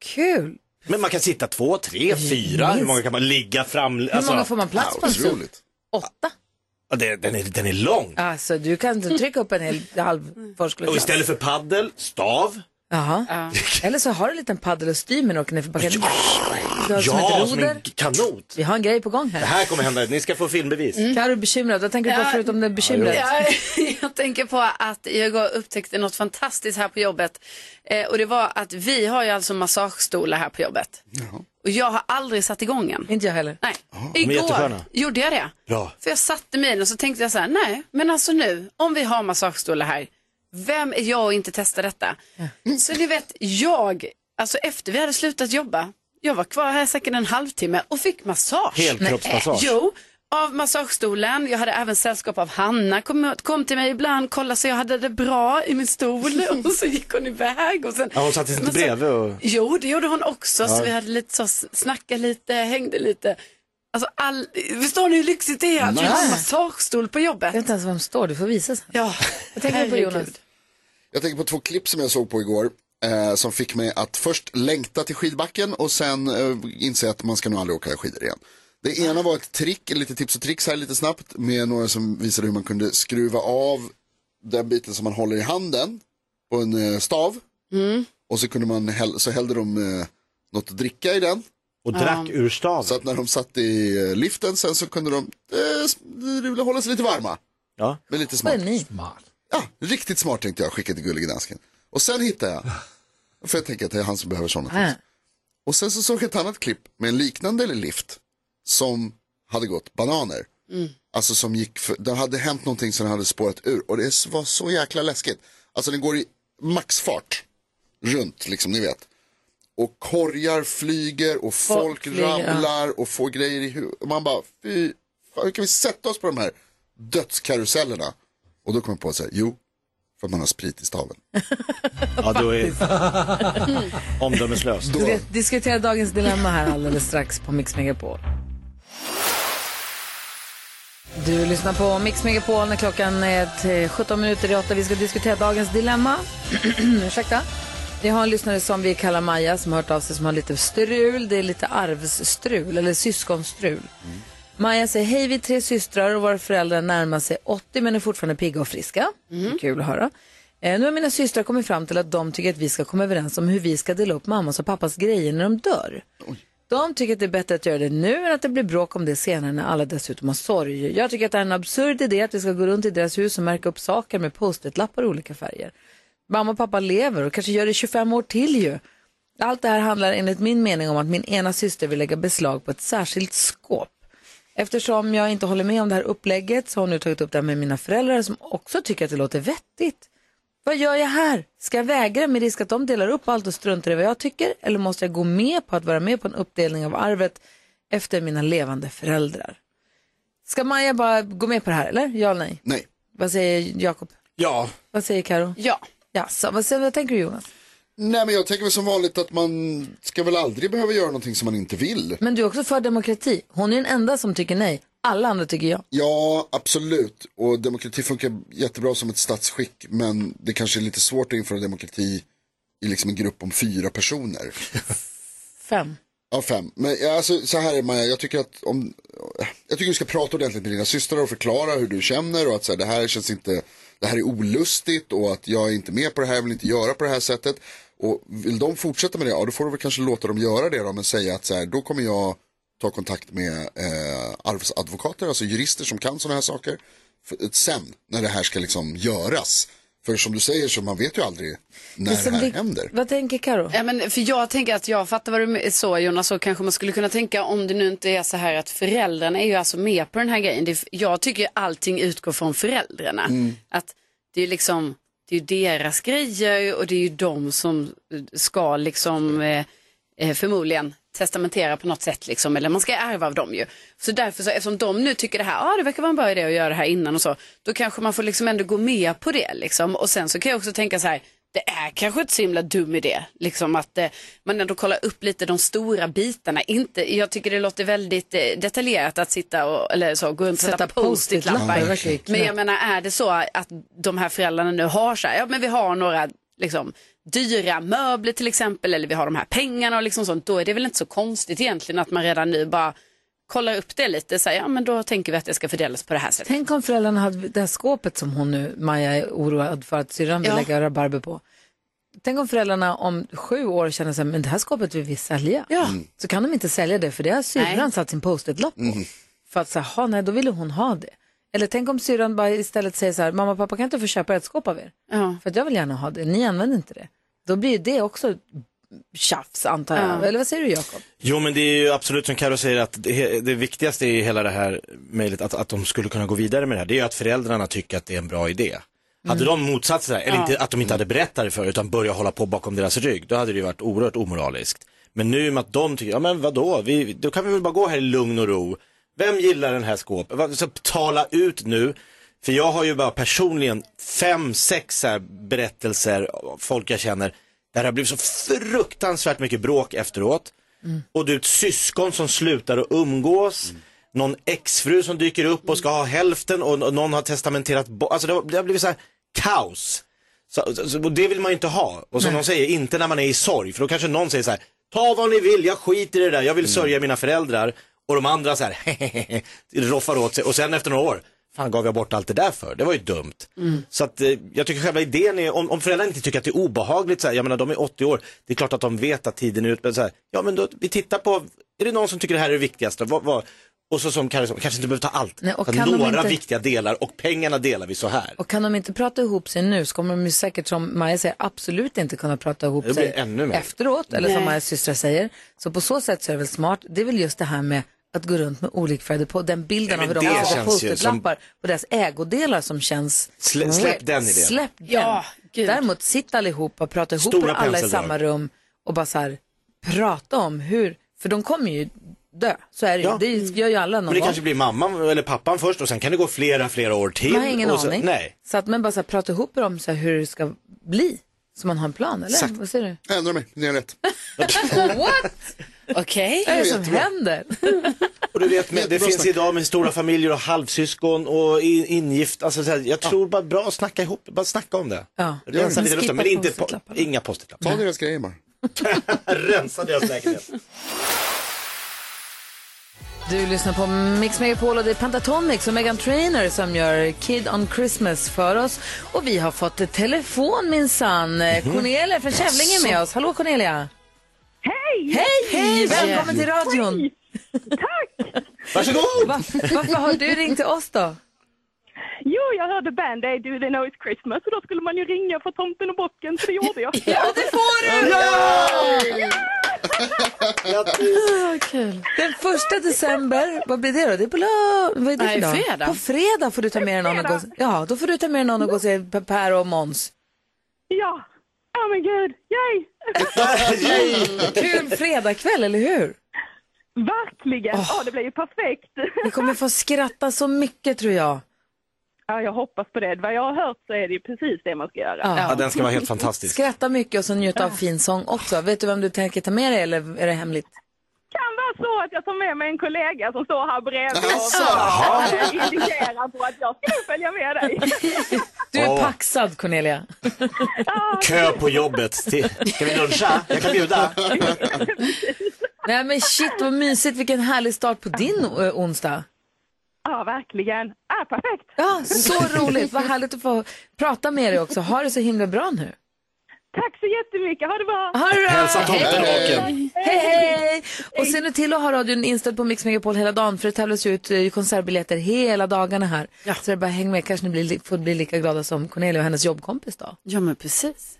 Speaker 1: Kul.
Speaker 2: Men man kan sitta två, tre, fyra. Hur många kan man ligga fram?
Speaker 1: Hur många får man plats på en sån?
Speaker 2: Otroligt. Åtta? Ja, det, den, är, den är lång.
Speaker 1: Alltså, du kan inte trycka upp en hel halv förskoleklass.
Speaker 2: Och istället för paddel, stav.
Speaker 1: Jaha. Eller så har du en liten paddel och styr med och åker ner för backen. Du har som
Speaker 2: Ja,
Speaker 1: ett
Speaker 2: som
Speaker 1: roder.
Speaker 2: en kanot.
Speaker 1: Vi har en grej på gång här.
Speaker 2: Det här kommer hända. Ni ska få filmbevis.
Speaker 1: Mm. Karo är bekymrad. Vad tänker du på
Speaker 4: Ja.
Speaker 1: förutom det bekymret?
Speaker 4: Ja, [LAUGHS] jag tänker på att jag igår upptäckte något fantastiskt här på jobbet. Eh, och det var att vi har ju alltså massagestolar här på jobbet. Och jag har aldrig satt igång en.
Speaker 1: Inte jag heller.
Speaker 4: Nej.
Speaker 2: Ah, är
Speaker 4: Igår
Speaker 2: jättesköna.
Speaker 4: gjorde jag det.
Speaker 2: Bra.
Speaker 4: För jag satte mig i den och så tänkte jag så här, nej, men alltså nu, om vi har massagestolar här, vem är jag att inte testa detta? Så ni vet, jag, alltså efter vi hade slutat jobba, jag var kvar här säkert en halvtimme och fick massage.
Speaker 11: Helkroppsmassage.
Speaker 4: Nej. Jo, av massagestolen. Jag hade även sällskap av Hanna. Kom, kom till mig ibland, kollade så jag hade det bra i min
Speaker 8: [LAUGHS]
Speaker 4: stol och så gick hon iväg. Och sen,
Speaker 2: Ja, hon satt inte
Speaker 4: Men så-
Speaker 2: bredvid och...
Speaker 4: Jo, det gjorde hon också. Så
Speaker 2: Ja.
Speaker 4: vi hade lite så, snackade lite, hängde lite. Alltså, all... Förstår ni hur lyxigt det är att vi har en
Speaker 1: Nej.
Speaker 4: massagestol på jobbet?
Speaker 1: Jag vet inte ens var de står, du får visa sen.
Speaker 4: Ja.
Speaker 1: Vad tänker du på
Speaker 4: Herregud.
Speaker 1: Jonas?
Speaker 3: Jag tänker på två klipp som jag såg på igår. Eh, som fick mig att först längta till skidbacken och sen eh, inse att man ska nog aldrig åka skidor igen. Det ena var ett trick, lite tips och tricks här lite snabbt. Med några som visade hur man kunde skruva av den biten som man håller i handen på en eh, stav. Och så, kunde man häll, så hällde de eh, något att dricka i den.
Speaker 2: Och drack ur staven.
Speaker 3: Så att när de satt i eh, liften sen så kunde de eh, s- hålla sig lite varma.
Speaker 2: Ja.
Speaker 3: Men lite smart.
Speaker 6: Smart.
Speaker 3: Ja, riktigt smart tänkte jag skicka till Gullige Dansken. Och sen hittade jag, för jag tänker att det är han som behöver sådana tips. Och sen så såg jag ett annat klipp med en liknande lift som hade gått bananer.
Speaker 11: Mm.
Speaker 3: Alltså som gick, för, den hade hänt någonting som den hade spårat ur och det var så jäkla läskigt. Alltså den går i maxfart runt liksom, ni vet. Och korgar flyger och folk,
Speaker 11: Folk flyger, ja.
Speaker 3: ramlar och får grejer i huvudet. Man bara, fy fan, hur kan vi sätta oss på de här dödskarusellerna? Och då kom jag på så här, jo, för att man har sprit i staven.
Speaker 2: [LAUGHS] ja, då är omdömeslös.
Speaker 1: Vi ska diskutera dagens dilemma här alldeles strax på Mix Megapol. Du lyssnar på Mix Megapol när klockan är till 17 minuter i 8. Vi ska diskutera dagens dilemma. [CLEARS THROAT] Ursäkta. Vi har en lyssnare som vi kallar Maja som har hört av sig som har lite strul. Det är lite arvsstrul eller syskonstrul. Maja säger, hej vi är tre systrar och våra föräldrar närmar sig 80 men är fortfarande pigga och friska. Kul att höra. Eh, nu har mina systrar kommit fram till att de tycker att vi ska komma överens om hur vi ska dela upp mammas och pappas grejer när de dör. De tycker att det är bättre att göra det nu än att det blir bråk om det senare när alla dessutom har sorg. Jag tycker att det är en absurd idé att vi ska gå runt i deras hus och märka upp saker med post-it-lappar i olika färger. Mamma och pappa lever och kanske gör det i 25 år till ju. Allt det här handlar enligt min mening om att min ena syster vill lägga beslag på ett särskilt skåp. Eftersom jag inte håller med om det här upplägget så har jag nu tagit upp det här med mina föräldrar som också tycker att det låter vettigt. Vad gör jag här? Ska jag vägra med risk att de delar upp allt och struntar i vad jag tycker? Eller måste jag gå med på att vara med på en uppdelning av arvet efter mina levande föräldrar? Ska Maja bara gå med på det här eller? Ja eller nej?
Speaker 3: Nej.
Speaker 1: Vad säger Jakob?
Speaker 2: Ja.
Speaker 1: Vad säger Karo?
Speaker 4: Ja.
Speaker 1: ja så, vad, säger, vad tänker du Jonas?
Speaker 3: Nej men jag tänker väl som vanligt att man ska väl aldrig behöva göra någonting som man inte vill.
Speaker 1: Men du är också för demokrati. Hon är den enda som tycker nej. Alla andra tycker ja.
Speaker 3: Ja, absolut. Och demokrati funkar jättebra som ett statsskick, men det kanske är lite svårt att införa demokrati i liksom en grupp om fyra personer.
Speaker 1: Fem.
Speaker 3: Ja, fem. Men ja, alltså, så här är Maja, jag tycker att om, jag tycker du ska prata ordentligt med dina systrar och förklara hur du känner och att så här, det här känns inte, det här är olustigt och att jag är inte med på det här, jag vill inte göra på det här sättet. Och vill de fortsätta med det, ja då får du väl kanske låta dem göra det då, men säga att så här, då kommer jag ta kontakt med eh, arvsadvokater, alltså jurister som kan sådana här saker, för, sen när det här ska liksom göras. För som du säger så man vet ju aldrig när det, här händer.
Speaker 1: Vad tänker Karo?
Speaker 4: Ja, men för jag tänker att jag fattar vad du men- så Jonas, så kanske man skulle kunna tänka om det nu inte är så här att föräldrarna är ju alltså med på den här grejen. Det, är- jag tycker ju allting utgår från föräldrarna.
Speaker 11: Mm.
Speaker 4: Att det är liksom, det är ju deras grejer och det är ju de som ska liksom eh, eh, förmodligen testamentera på något sätt liksom, eller man ska ärva av dem ju. Så därför så, eftersom de nu tycker det här, ja ah, det verkar vara en bra idé att göra det här innan och så, då kanske man får liksom ändå gå med på det liksom. Och sen så kan jag också tänka så här, det är kanske inte så himla dum idé, liksom att eh, man ändå kollar upp lite de stora bitarna. Inte, jag tycker det låter väldigt eh, detaljerat att sitta och eller så, gå runt och sätta,
Speaker 1: Sätta post-it-lappar.
Speaker 4: post-it-lappar.
Speaker 1: Ja, det verkar ju knäppt.
Speaker 4: men jag menar, är det så att de här föräldrarna nu har så här, ja men vi har några liksom, dyra möbler till exempel, eller vi har de här pengarna och liksom sånt, då är det väl inte så konstigt egentligen att man redan nu bara kollar upp det lite, så här, ja men då tänker vi att det ska fördelas på det här sättet.
Speaker 1: Tänk om föräldrarna hade det här skåpet som hon nu, Maja, är oroad för att syrran vill
Speaker 4: Ja.
Speaker 1: lägga rabarber på. Tänk om föräldrarna om sju år känner sig, men det här skåpet vill vi sälja. Så kan de inte sälja det för det har syrran satt sin post-it-lapp på. För att säga, ha nej, då ville hon ha det. Eller tänk om syrran bara istället säger så här, mamma och pappa kan inte få köpa ett skåp av er? För att jag vill gärna ha det, ni använder inte det. Då blir ju det också tjafs antar jag.
Speaker 4: Ja.
Speaker 1: Eller vad säger du Jakob?
Speaker 2: Jo men det är ju absolut som Karo säger att det, det viktigaste i hela det här mejlet, att, att de skulle kunna gå vidare med det här, det är ju att föräldrarna tycker att det är en bra idé. Hade
Speaker 8: Mm.
Speaker 2: de motsatt sig det här, eller
Speaker 8: Ja.
Speaker 2: inte, att de inte hade berättat det för utan börjat hålla på bakom deras rygg, då hade det ju varit oerhört omoraliskt. Men nu med att de tycker, ja men vadå, vi, då kan vi väl bara gå här i lugn och ro. Vem gillar den här skåpet? Va- Så tala ut nu. För jag har ju bara personligen fem, sex så här berättelser, av folk jag känner, där det har blivit så fruktansvärt mycket bråk efteråt. Och du är ett syskon som slutar att umgås. Någon exfru som dyker upp och ska ha hälften och och någon har testamenterat bort. Alltså det har, det har blivit så här kaos. Så, så, så, och det vill man ju inte ha. Och som de säger, inte när man är i sorg. För då kanske någon säger så här, ta vad ni vill, jag skiter i det där, jag vill
Speaker 1: Mm.
Speaker 2: sörja mina föräldrar. Och de andra så här, [LAUGHS] roffar åt sig. Och sen efter några år, fan gav jag bort allt det där för? Det var ju dumt.
Speaker 16: Mm.
Speaker 2: Så att eh, jag tycker själva idén är, om, om föräldrarna inte tycker att det är obehagligt, så här, jag menar de är 80 år, det är klart att de vet att tiden är ute, men så här, ja men då, vi tittar på, är det någon som tycker det här är det viktigaste? Vad, vad, och så som Karin sa, kanske inte behöver ta allt,
Speaker 1: Nej, och
Speaker 2: Så
Speaker 1: kan de
Speaker 2: några
Speaker 1: inte-
Speaker 2: viktiga delar och pengarna delar vi så här.
Speaker 1: Och kan de inte prata ihop sig nu så kommer de ju säkert som Maja säger absolut inte kunna prata ihop
Speaker 2: Det blir
Speaker 1: sig
Speaker 2: ännu mer.
Speaker 1: efteråt. Eller som
Speaker 2: Nej.
Speaker 1: Majas systrar säger. Så på så sätt så är det väl smart. Det är väl just det här med att gå runt med olikfärgade på den bilden
Speaker 2: Nej,
Speaker 1: av hur
Speaker 2: men
Speaker 1: de
Speaker 2: det
Speaker 1: har sina
Speaker 2: känns ju som-
Speaker 1: post-it-lappar och deras ägodelar som känns...
Speaker 2: Slä- släpp den idén.
Speaker 1: Släpp den.
Speaker 4: Ja,
Speaker 1: Däremot sitt allihopa, prata ihop
Speaker 2: Stora
Speaker 1: er alla i
Speaker 2: penseldrag.
Speaker 1: samma rum och bara så här, prata om hur, för de kommer ju dö. Så är det ju.
Speaker 2: Ja.
Speaker 1: Det gör ju alla någon
Speaker 2: Men det
Speaker 1: gång.
Speaker 2: kanske blir mamman eller pappan först och sen kan det gå flera, flera år till.
Speaker 1: Man har ingen
Speaker 2: och så,
Speaker 1: aning.
Speaker 2: Nej.
Speaker 1: Så att man bara så här, prata ihop er om så här, hur det ska bli. Så man har en plan, eller?
Speaker 3: Exakt.
Speaker 1: Vad säger du?
Speaker 3: Jag ändrar mig, ni har rätt.
Speaker 1: What?
Speaker 4: Okej.
Speaker 1: Vad är det som
Speaker 3: Jättebra.
Speaker 1: händer?
Speaker 2: Och du vet, men det
Speaker 3: Jättebra
Speaker 2: finns
Speaker 3: snack.
Speaker 2: idag med stora familjer och halvsyskon och i- ingift. Alltså, så här, jag tror bara bra att snacka ihop, bara snacka om det.
Speaker 1: Ja.
Speaker 2: Rensa
Speaker 3: Men
Speaker 2: lite luften,
Speaker 3: skippa
Speaker 2: men inte po inga post
Speaker 3: Ta deras grejer bara.
Speaker 2: [LAUGHS] Rensa deras lägenhet.
Speaker 1: Du lyssnar på Mix Megapol och det är Pentatonix och Megan Trainer som gör Kid on Christmas för oss. Och vi har fått ett telefon minsann. Cornelia från Kävlinge är med oss. Hallå Cornelia!
Speaker 17: Hej!
Speaker 1: Hej! Välkommen till radion!
Speaker 2: Varsågod!
Speaker 1: Va, varför har du ringt till oss då?
Speaker 17: Jo, jag hörde Band Aid, Do They Know It's Christmas och då skulle man ju ringa för tomten och bocken, så det gjorde jag.
Speaker 1: [LAUGHS] Ja, det får du!
Speaker 17: Ja!
Speaker 4: Ah,
Speaker 1: Den första december, vad blir det då? Det är på lö- vad är det för
Speaker 4: Nej,
Speaker 1: dag?
Speaker 4: fredag.
Speaker 1: På fredag får du ta med dig någon och gå Ja, då får du ta med dig någon och gå och se Per- Per och Måns.
Speaker 17: Ja! Oh men gud, yay!
Speaker 1: Kul fredagkväll, eller hur?
Speaker 17: Verkligen! Ja, det blev ju perfekt.
Speaker 1: Vi kommer få skratta så mycket tror jag.
Speaker 17: Ja, jag hoppas på det. Vad jag har hört så är det ju precis det man ska göra.
Speaker 2: Ja, den ska vara helt fantastisk.
Speaker 1: Skratta mycket och så njuta av fin sång också. Vet du vem du tänker ta med dig eller är det hemligt?
Speaker 17: kan vara så att jag tar med mig en kollega som står här bredvid
Speaker 1: Alltså.
Speaker 17: och indikerar på att jag ska följa med dig.
Speaker 1: Du är
Speaker 2: Åh.
Speaker 1: paxad Cornelia.
Speaker 2: Kö på jobbet. Till... Ska vi luncha? Jag kan bjuda.
Speaker 3: [LAUGHS]
Speaker 1: Nej men shit vad mysigt, vilken härlig start på din eh, onsdag.
Speaker 17: Ja, verkligen. Ja, perfekt.
Speaker 1: Ja, Så roligt, vad härligt att få prata med dig också. Ha det så himla bra nu.
Speaker 17: Tack så jättemycket. Ha det bra.
Speaker 1: Ha det bra!
Speaker 17: Hälsa tomten
Speaker 1: Hej.
Speaker 17: bocken.
Speaker 1: Hej, hej! Och se nu till att ha radion inställd på Mix Megapol hela dagen för det tävlas ju ut eh, konsertbiljetter hela dagarna här. Så det är bara att häng med, kanske ni blir, li- får bli lika glada som Cornelia och hennes jobbkompis då.
Speaker 4: Ja, men precis.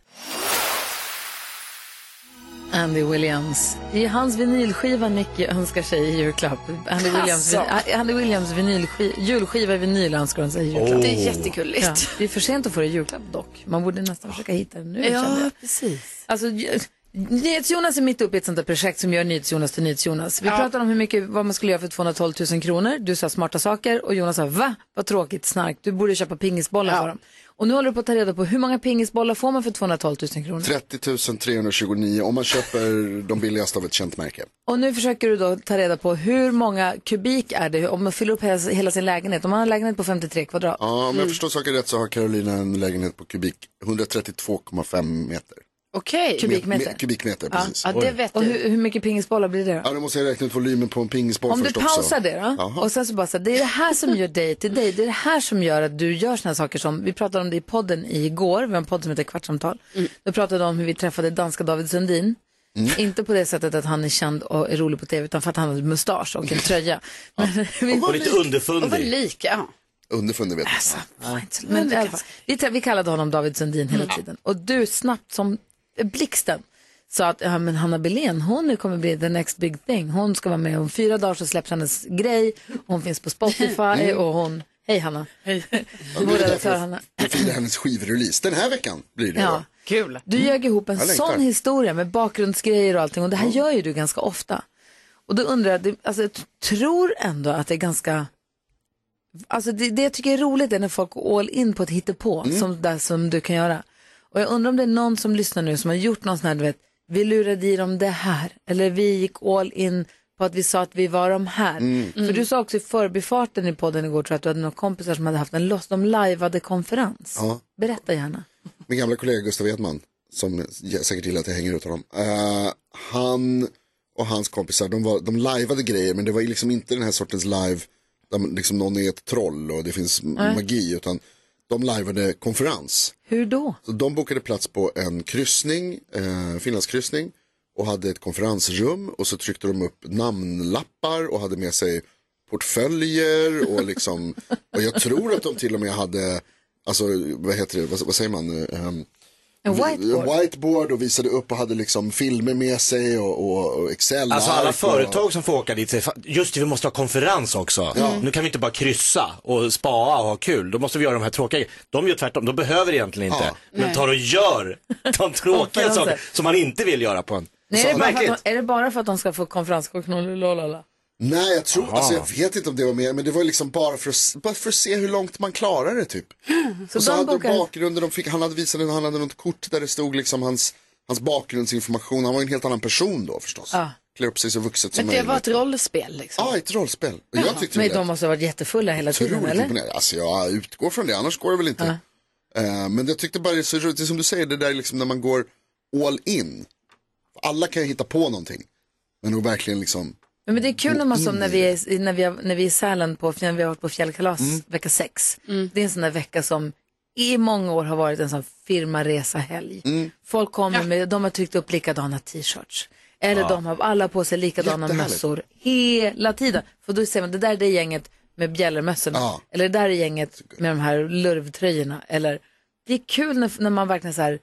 Speaker 1: Andy Williams. Det är hans vinylskiva Nicky önskar sig i julklapp. Andy Williams,
Speaker 4: Alltså.
Speaker 1: vin- Andy Williams vinylskiva, julskiva i vinyl önskar han sig i julklapp.
Speaker 4: Åh. Det är jättegulligt.
Speaker 1: Ja. Det är för sent att få det i julklapp dock. Man borde nästan försöka hitta den nu kände jag.
Speaker 4: ja, precis.
Speaker 1: Alltså, ju- NyhetsJonas är mitt uppe i ett sånt där projekt som gör NyhetsJonas till NyhetsJonas. Vi
Speaker 4: Ja.
Speaker 1: pratade om hur mycket, vad man skulle göra för 212 000 kronor. Du sa smarta saker och Jonas sa va? Vad tråkigt snark. Du borde köpa pingisbollar för dem. Och nu håller du på att ta reda på hur många pingisbollar får man för 212 000 kronor?
Speaker 3: 30 329 om man köper de billigaste av ett känt märke.
Speaker 1: Och nu försöker du då ta reda på hur många kubik är det om man fyller upp hela, hela sin lägenhet. Om man har en lägenhet på 53 kvadrat. Mm.
Speaker 3: Ja, om jag förstår saken rätt så har Carolina en lägenhet på kubik 132,5 meter.
Speaker 1: Okej. Kubikmeter.
Speaker 3: Me- Kubikmeter,
Speaker 1: Ja,
Speaker 3: precis.
Speaker 1: ja, det vet Och hur, hur mycket pingisbollar blir det då?
Speaker 3: Ja, då måste jag räkna ut volymen på en pingisboll
Speaker 1: Om du
Speaker 3: först också.
Speaker 1: pausar det då
Speaker 3: Jaha.
Speaker 1: och sen så bara så här, det är det här som gör dig till dig. Det är det här som gör att du gör såna här saker som, vi pratade om det i podden igår, vi har en podd som heter Kvartsamtal.
Speaker 2: Mm.
Speaker 1: Då pratade vi om hur vi träffade danska David Sundin. Inte på det sättet att han är känd och är rolig på tv utan för att han hade mustasch och en tröja. Men, vi-
Speaker 2: Och lite underfundig.
Speaker 4: Och var lik, ja.
Speaker 3: Underfundig vet jag.
Speaker 1: Alltså, Men i alla fall, vi, trä- vi kallade honom David Sundin hela tiden. Och du snabbt som blixten sa att ja, men Hanna Belén, hon nu kommer bli the next big thing. Hon ska vara med om fyra dagar så släpps hennes grej. Hon finns på Spotify
Speaker 3: Mm.
Speaker 1: och hon, hej Hanna. Hej.
Speaker 3: Ja, det
Speaker 1: Vår
Speaker 3: är
Speaker 1: redaktör
Speaker 3: därför
Speaker 1: Hanna.
Speaker 3: Jag firar hennes skivrelease. Den här veckan blir det.
Speaker 1: Ja.
Speaker 3: Ja.
Speaker 1: Kul. Du ljög ihop en
Speaker 3: Mm. Jag längtar.
Speaker 1: sån historia med bakgrundsgrejer och allting och det här gör ju du ganska ofta. Och då undrar jag, det- alltså, jag t- tror ändå att det är ganska, alltså det, det jag tycker är roligt är när folk går all in på ett hittepå
Speaker 3: Mm.
Speaker 1: som, där, som du kan göra. Och jag undrar om det är någon som lyssnar nu som har gjort någon sån här, du vet, vi lurade i dem det här, eller vi gick all in på att vi sa att vi var de här.
Speaker 11: Mm.
Speaker 1: För du sa också i förbifarten i podden igår tror jag att du hade några kompisar som hade haft en loss, de lajvade konferens.
Speaker 3: Ja.
Speaker 1: Berätta gärna.
Speaker 3: Min gamla kollega Gustav Edman, som jag säkert till att jag hänger ut honom. Eh, han och hans kompisar, de, var, de lajvade grejer men det var ju liksom inte den här sortens live där man- liksom någon är ett troll och det finns m-
Speaker 1: Nej.
Speaker 3: magi utan de lajvade konferens.
Speaker 1: Hur då?
Speaker 3: Så de bokade plats på en kryssning, eh, Finlandskryssning och hade ett konferensrum och så tryckte de upp namnlappar och hade med sig portföljer och
Speaker 1: [LAUGHS]
Speaker 3: liksom, och jag tror att de till och med hade, alltså vad heter det, vad, vad säger man? Ehm,
Speaker 1: En whiteboard.
Speaker 3: whiteboard och visade upp och hade liksom filmer med sig och, och, och excel
Speaker 2: Alltså alla
Speaker 3: och-
Speaker 2: företag som får åka dit säger, "Fan, just det vi måste ha konferens också. Mm. Nu kan vi inte bara kryssa och spaa och ha kul. Då måste vi göra de här tråkiga grejerna." De gör tvärtom, de behöver egentligen inte.
Speaker 3: Ja.
Speaker 2: Men
Speaker 1: Nej.
Speaker 2: tar och gör
Speaker 4: [LAUGHS]
Speaker 2: de tråkiga
Speaker 1: Konferenser.
Speaker 2: saker som man inte vill göra på en.
Speaker 1: Nej, är, det bara för
Speaker 2: Märkligt.
Speaker 1: att de, är det bara för att de ska få
Speaker 3: [GASPS]
Speaker 1: konferenskock? lololala?
Speaker 3: Nej, jag tror,
Speaker 2: Aha.
Speaker 3: alltså jag vet inte om det var mer, men det var liksom bara för att, bara för att se hur långt man klarar det typ.
Speaker 1: Så
Speaker 3: och så
Speaker 1: de
Speaker 3: hade
Speaker 1: bokar-
Speaker 3: de bakgrunden, de fick, han hade visat en, han hade något kort där det stod liksom hans, hans bakgrundsinformation, han var ju en helt annan person då förstås.
Speaker 1: Ja.
Speaker 3: Klär upp sig så vuxet som
Speaker 4: Men det
Speaker 3: möjligt.
Speaker 4: var ett rollspel liksom.
Speaker 3: Ja, ett rollspel. Och jag tyckte
Speaker 1: Men
Speaker 3: det
Speaker 1: de måste ha varit jättefulla hela tiden,
Speaker 3: otroligt
Speaker 1: eller?
Speaker 3: imponerande. Alltså jag utgår från det, annars går det väl inte. Eh, men jag tyckte bara det är så roligt, det är som du säger, det där liksom när man går all in. Alla kan ju hitta på någonting, men att verkligen liksom
Speaker 1: Men men det är kul när man som
Speaker 3: Mm.
Speaker 1: när vi är, i- när vi har, när vi är i Sälen på, när vi har varit på fjällkalas
Speaker 3: Mm.
Speaker 1: vecka sex. Det är en sån där vecka som i många år har varit en sån firmaresa-helg. Folk kommer med, de har tryckt upp likadana t-shirts. Eller
Speaker 11: Ja.
Speaker 1: de har alla på sig likadana
Speaker 11: Jättehärligt.
Speaker 1: mössor hela tiden. För då ser man, det där är det gänget med bjällermössorna.
Speaker 11: Ja.
Speaker 1: Eller det där är gänget med de här lurvtröjorna. Eller, det är kul när, när man verkligen så här,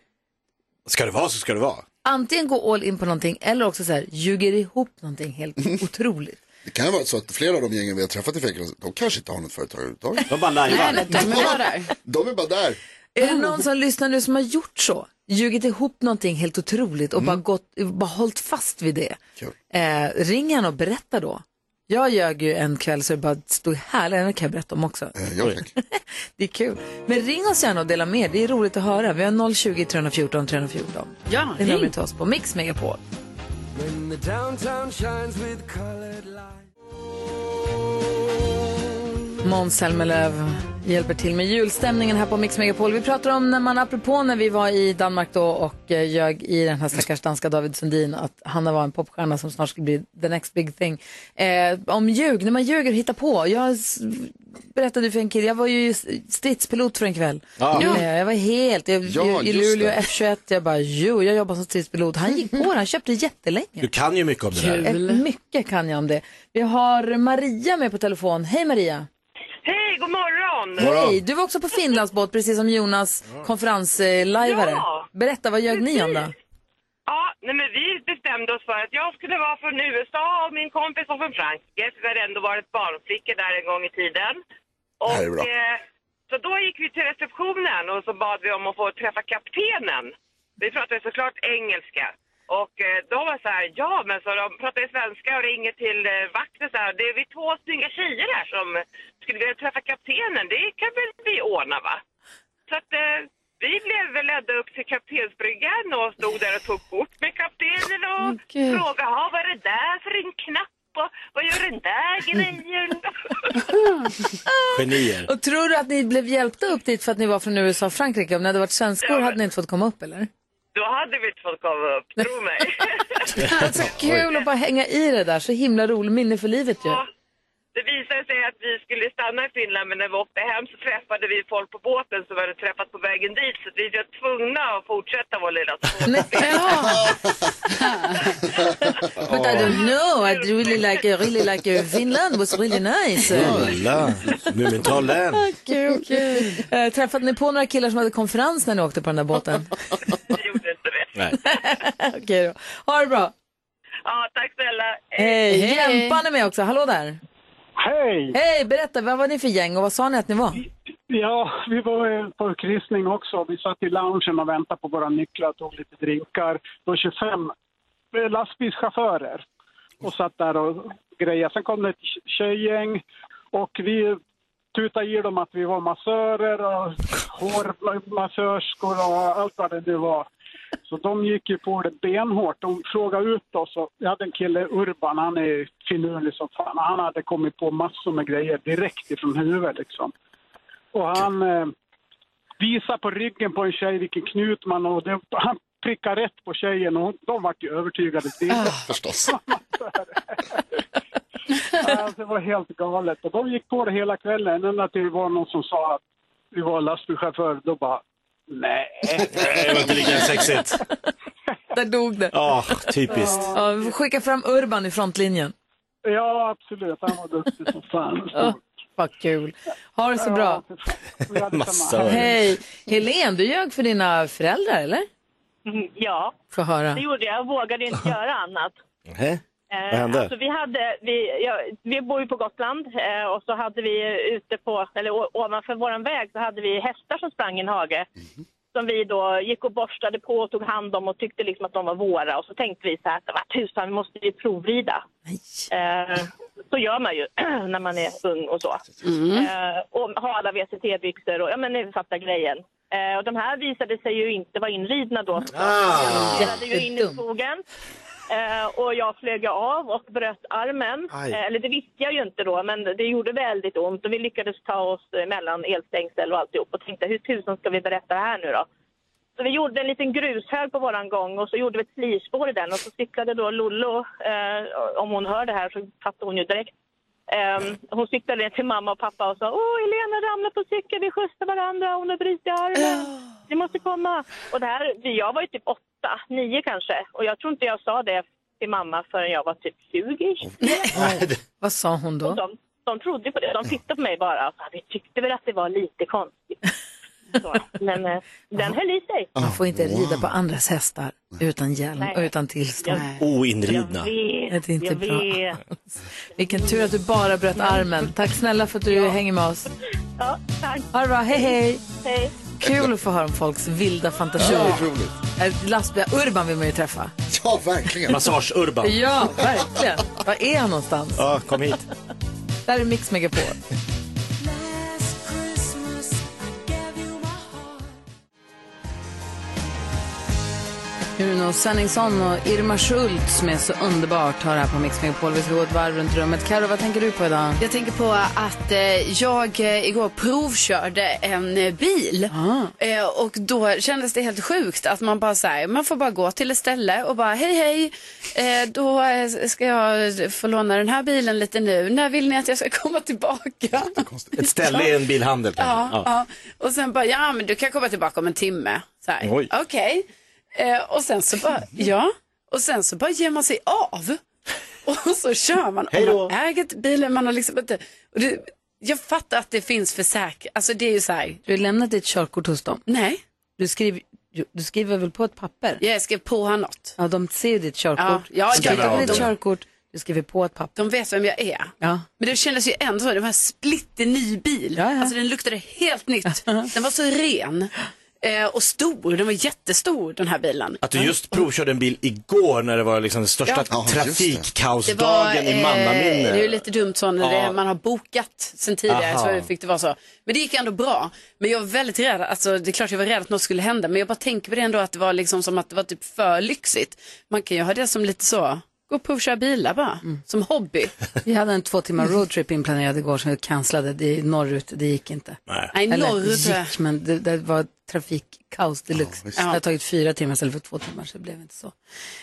Speaker 2: Ska det vara så ska det vara.
Speaker 1: antingen går all in på någonting eller också så här, ljuger ihop någonting helt
Speaker 11: [LAUGHS]
Speaker 1: otroligt.
Speaker 3: Det kan vara så att flera av de gängen vi har träffat i Fägelhus, de kanske inte har något företag överhuvudtaget.
Speaker 2: De bara lajvar.
Speaker 1: Nej, nej, de är bara där.
Speaker 3: De är bara där.
Speaker 1: Är det någon som lyssnar nu som har gjort så? Ljugit ihop någonting helt otroligt och bara, gått, bara hållit fast vid det.
Speaker 3: Kul.
Speaker 1: Eh, ring gärna och berätta då. Jag ljög ju en kväll så det bara stod härligt, den kan jag berätta om också.
Speaker 8: Eh,
Speaker 3: Jag tack.
Speaker 1: Det är kul. Men ring oss gärna och dela med er, det är roligt att höra. Vi har 020 314 314.
Speaker 4: Ja,
Speaker 1: det är
Speaker 4: ring.
Speaker 1: numret till oss på Mix Megapol.
Speaker 15: When the downtown shines with colored light.
Speaker 1: Måns Zelmerlöw hjälper till med julstämningen här på Mix Megapol. Vi pratar om när man, apropå när vi var i Danmark då och eh, ljög i den här stackars danska David Sundin att Hanna var en popstjärna som snart skulle bli the next big thing. Eh, om ljug, när man ljuger och hittar på. Jag s- berättade för en kille, jag var ju s- stridspilot för en kväll.
Speaker 11: Ja.
Speaker 1: Eh, jag var helt, jag,
Speaker 11: Ja,
Speaker 1: i- i
Speaker 11: just
Speaker 1: Luleå
Speaker 11: det.
Speaker 1: F21, jag bara jo, jag jobbar som stridspilot. Han gick på det, han köpte jättelänge.
Speaker 2: Du kan ju mycket om det där.
Speaker 1: Eh, Mycket kan jag om det. Vi har Maria med på telefon. Hej Maria!
Speaker 8: Hej, god morgon!
Speaker 1: Hej! Du var också på Finlandsbåt, precis som Jonas, konferenslajvare.
Speaker 8: Ja.
Speaker 1: Berätta, vad ljög ni om då?
Speaker 8: Ja, nej men vi bestämde oss för att jag skulle vara från USA och min kompis var från Frankrike. För vi hade ändå varit barnflickor där en gång i tiden.
Speaker 11: Det här är
Speaker 8: Och,
Speaker 11: bra.
Speaker 8: eh, så då gick vi till receptionen och så bad vi om att få träffa kaptenen. Vi pratade såklart engelska. Och eh, de var så här, ja men så de pratade svenska och ringer till eh, vakten så här, det är vi två snygga tjejer här som skulle vilja träffa kaptenen, det kan väl vi ordna va? Så att eh, vi blev väl ledda upp till kaptensbryggan och stod där och tog kort med kaptenen och
Speaker 11: Gud.
Speaker 8: frågade "Ja, vad är det där för en knapp och vad gör den där grejen?
Speaker 2: Genier.
Speaker 1: Och tror du att ni blev hjälpta upp dit för att ni var från USA och Frankrike? Om ni hade varit svenskor hade ni inte fått komma upp eller?
Speaker 8: Då då hade vi inte fått komma upp, tro mig.
Speaker 1: [LAUGHS] Alltså, kul att bara hänga i det där. Så himla roligt minne för livet ju.
Speaker 8: Det visade sig att vi skulle stanna i Finland, men när vi åkte hem så träffade vi folk på båten som vi hade träffat på vägen dit, så vi var tvungna att fortsätta vår lilla tur.
Speaker 1: But I don't know. I really like, I really like uh, Finland. was really nice.
Speaker 2: Mm. Ulla, Mumintrollen.
Speaker 1: Kul, kul. Eh, Träffade ni på några killar som hade konferens när ni åkte på den där båten?
Speaker 2: Nej.
Speaker 1: [LAUGHS] Okej då. Ha det bra.
Speaker 8: Ja, tack snälla.
Speaker 1: Hej. Jämpan är med också. Hallå där.
Speaker 16: Hej!
Speaker 1: Hej, berätta. Vad var ni för gäng och vad sa ni att ni var?
Speaker 16: Ja, vi var eh, på kryssning också. Vi satt i loungen och väntade på våra nycklar och tog lite drinkar. Det var 25 eh, lastbilschaufförer och satt där och grejade. Sen kom det ett tjejgäng och vi tutade i dem att vi var massörer och hårmassörskor och allt vad det nu var. Så de gick ju på det benhårt. De frågade ut oss. Och jag hade en kille, Urban, han är finurlig som fan. Han hade kommit på massor med grejer direkt ifrån huvudet liksom. Och han eh, visade på ryggen på en tjej vilken knut man och det, han prickade rätt på tjejen och de vart ju övertygade. direkt.
Speaker 3: Förstås.
Speaker 16: alltså, det var helt galet. Och de gick på det hela kvällen ända till det var någon som sa att vi var lastbilschaufförer. Då bara,
Speaker 2: [LAUGHS]
Speaker 16: nej.
Speaker 2: Det var inte lika sexigt.
Speaker 1: [LAUGHS] Där dog det.
Speaker 2: Ja, typiskt.
Speaker 1: Ja, vi får skicka fram Urban i frontlinjen.
Speaker 16: Ja, absolut. Han var duktig som fan.
Speaker 1: Ja, vad kul. Ha det så bra.
Speaker 2: Massa
Speaker 1: Hej. Helen, du ljög för dina föräldrar, eller?
Speaker 18: Mm, Ja,
Speaker 1: Få höra.
Speaker 18: det gjorde jag. Jag vågade inte göra annat.
Speaker 2: Hä?
Speaker 18: Eh,
Speaker 2: Vad hände?
Speaker 18: Alltså, vi, hade, vi, ja, vi bor ju på Gotland eh, och så hade vi ute på, eller o- ovanför vår väg så hade vi hästar som sprang i en hage. Som vi då gick och borstade på och tog hand om och tyckte liksom att de var våra. Och så tänkte vi så här, vad tusan, vi måste ju provrida. Eh, så gör man ju [CLEARS THROAT] när man är ung och så. Eh, och ha alla VCT-byxor och ja men ni fattar grejen. Eh, och de här visade sig ju inte vara inridna då.
Speaker 11: Ah.
Speaker 18: De hade ju in i skogen. Eh, och jag flög av och bröt armen.
Speaker 11: Aj.
Speaker 18: Eh, eller det visste jag ju inte då, men det gjorde väldigt ont. Och vi lyckades ta oss eh, mellan elstängsel och alltihop och tänkte hur tusan ska vi berätta det här nu då? Så vi gjorde en liten grushög på våran gång och så gjorde vi ett slirspår i den och så cyklade då Lollo, eh, om hon hör det här så fattar hon ju direkt. Ehm, hon cyklade ner till mamma och pappa och sa Åh, Helena ramlade på cykeln, vi skjutsade varandra, hon har brutit armen. Ni måste komma. Och det här, jag var ju typ åtta, nio kanske. Och jag tror inte jag sa det till mamma förrän jag var typ 20.
Speaker 1: Vad sa hon då?
Speaker 18: De, de trodde på det. De tittade på mig bara. "Fan, Vi tyckte väl att det var lite konstigt. [LAUGHS] Så, men eh, den höll i sig.
Speaker 1: Man får
Speaker 2: Ah,
Speaker 1: inte rida på andras hästar utan hjälm
Speaker 18: Nej.
Speaker 1: och utan tillstånd.
Speaker 2: Oinridna.
Speaker 18: Jag vet,
Speaker 1: Det är inte
Speaker 18: jag
Speaker 1: bra.
Speaker 18: vet.
Speaker 1: Vilken tur att du bara bröt armen. Tack snälla för att du hänger med oss.
Speaker 18: Ja, tack.
Speaker 1: Ha det bra. Hej, hej.
Speaker 18: Hej.
Speaker 1: Kul att få höra om folks vilda fantasier.
Speaker 3: Ja, det är roligt.
Speaker 1: Eh, Lastbil, Urban vill man ju träffa.
Speaker 3: Ja, verkligen.
Speaker 2: Massage-Urban.
Speaker 1: Ja, verkligen. Var är han någonstans?
Speaker 2: Ja, kom hit.
Speaker 1: Där är Mix Megapol. Uno Svenningsson och Irma Schultz som är så underbart har det här på Mix Megapol. Vi ska gå ett varv runt rummet. Karo, vad tänker du på idag?
Speaker 4: Jag tänker på att eh, jag eh, igår provkörde en eh, bil.
Speaker 1: Ah.
Speaker 4: Eh, och då kändes det helt sjukt att man bara så här, man får bara gå till ett ställe och bara hej hej, eh, då eh, ska jag få låna den här bilen lite nu. När vill ni att jag ska [LAUGHS] komma tillbaka?
Speaker 2: Ett ställe i en bilhandel.
Speaker 4: Ja,
Speaker 2: kanske.
Speaker 4: ja. Och sen bara, ja men du kan komma tillbaka om en timme. Så här,
Speaker 2: Oj.
Speaker 4: Okej. Eh, och sen så bara, ja. Och sen så bara ger man sig av. Och så kör man.
Speaker 11: Hej då.
Speaker 4: Och man äger inte bilen, man har liksom inte... Och det, jag fattar att det finns försäkring. Alltså det är ju så här.
Speaker 1: Du har lämnat ditt körkort hos dem?
Speaker 4: Nej.
Speaker 1: Du, skriv, jo, du skriver väl på ett papper?
Speaker 4: Jag skrev på här något.
Speaker 1: Ja, de ser ju ditt
Speaker 4: Ja,
Speaker 1: körkort.
Speaker 4: ja,
Speaker 1: de
Speaker 4: ja,
Speaker 1: tittar på
Speaker 4: ja,
Speaker 1: ditt
Speaker 4: de-
Speaker 1: körkort, du skriver på ett papper.
Speaker 4: De vet vem jag är.
Speaker 1: Ja.
Speaker 4: Men det kändes ju ändå så, det var en splitterny bil. Alltså den luktade helt nytt. Den var så ren. Eh, och stor, den var jättestor den här bilen.
Speaker 2: Att du just provkörde en bil igår när det var liksom den största
Speaker 4: Ja.
Speaker 2: trafikkaosdagen i
Speaker 4: Det är ju
Speaker 2: mannaminne.
Speaker 4: lite dumt så när det,
Speaker 2: Ja.
Speaker 4: man har bokat sen tidigare
Speaker 2: Aha.
Speaker 4: så fick det vara så. Men det gick ändå bra. Men jag var väldigt rädd, alltså det är klart jag var rädd att något skulle hända. Men jag bara tänker på det ändå att det var liksom som att det var typ för lyxigt. Man kan ju ha det som lite så, gå och provköra bilar bara,
Speaker 1: Mm.
Speaker 4: som hobby.
Speaker 1: Vi hade en två timmar roadtrip inplanerad igår som vi cancellade. Det är norrut, det gick inte.
Speaker 4: Nej,
Speaker 1: Eller,
Speaker 4: norrut,
Speaker 1: gick, men det, det var trafikkaos deluxe.
Speaker 4: visst.
Speaker 1: det har tagit fyra timmar istället för två timmar, så det blev inte så.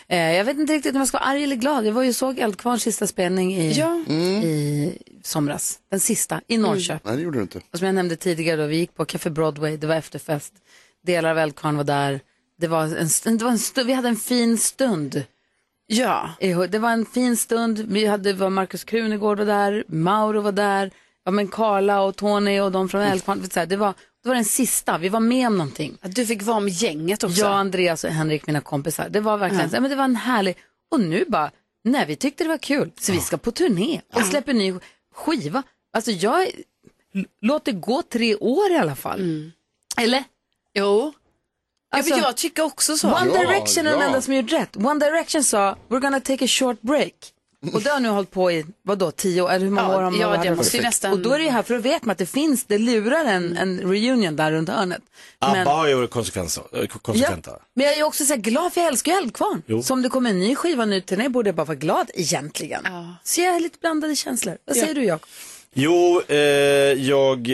Speaker 1: Eh, jag vet inte riktigt om jag ska vara arg eller glad. Jag var ju såg Eldkvarns sista spelning i, i somras. Den sista, i
Speaker 3: Mm.
Speaker 1: Norrköpen.
Speaker 3: Nej, det gjorde du inte.
Speaker 1: Och som jag nämnde tidigare, då, vi gick på Café Broadway, det var efterfest. Delar av Eldkvarn var där. Det var en, st- det var en st- vi hade en fin stund.
Speaker 4: Ja.
Speaker 1: Det var en fin stund. Vi hade, det var Markus Krunegård var där, Mauro var där, ja, men Carla och Tony och de från
Speaker 4: Mm.
Speaker 1: Eldkvarn. Så här, Det var, det var den sista, vi var med om någonting.
Speaker 4: Du fick vara med gänget också.
Speaker 1: Jag, Andreas och Henrik, mina kompisar. Det var verkligen
Speaker 4: Ja.
Speaker 1: så, ja, men det var en härlig, och nu bara, nej vi tyckte det var kul, så vi ska på turné och släpper ny skiva. Alltså jag, l- låt det gå tre år i alla fall. Eller?
Speaker 4: Mm. Jo. ja, men jag tycker också så.
Speaker 1: Alltså, One
Speaker 4: Ja,
Speaker 1: Direction är de
Speaker 4: ja.
Speaker 1: enda som gjort rätt. One Direction sa, we're gonna take a short break. Och det har nu hållit på i, vadå, tio år? Eller hur många
Speaker 4: Mm. Ja,
Speaker 1: år har man
Speaker 4: ja,
Speaker 1: varit
Speaker 4: det
Speaker 1: här?
Speaker 4: måste ju nästan-
Speaker 1: Och då är det ju här, för då vet man att det finns, det lurar en, en reunion där runt hörnet.
Speaker 2: ABBA
Speaker 1: Men-
Speaker 2: har ju varit konsekvenser- eh, konsekventa.
Speaker 1: Ja, men jag är också så här glad för jag älskar ju Eldkvarn.
Speaker 2: Jo.
Speaker 1: Så om det kommer en ny skiva nu till mig borde jag bara vara glad egentligen. Så jag är lite blandade känslor. Vad säger du Jakob?
Speaker 2: Jo, eh, jag,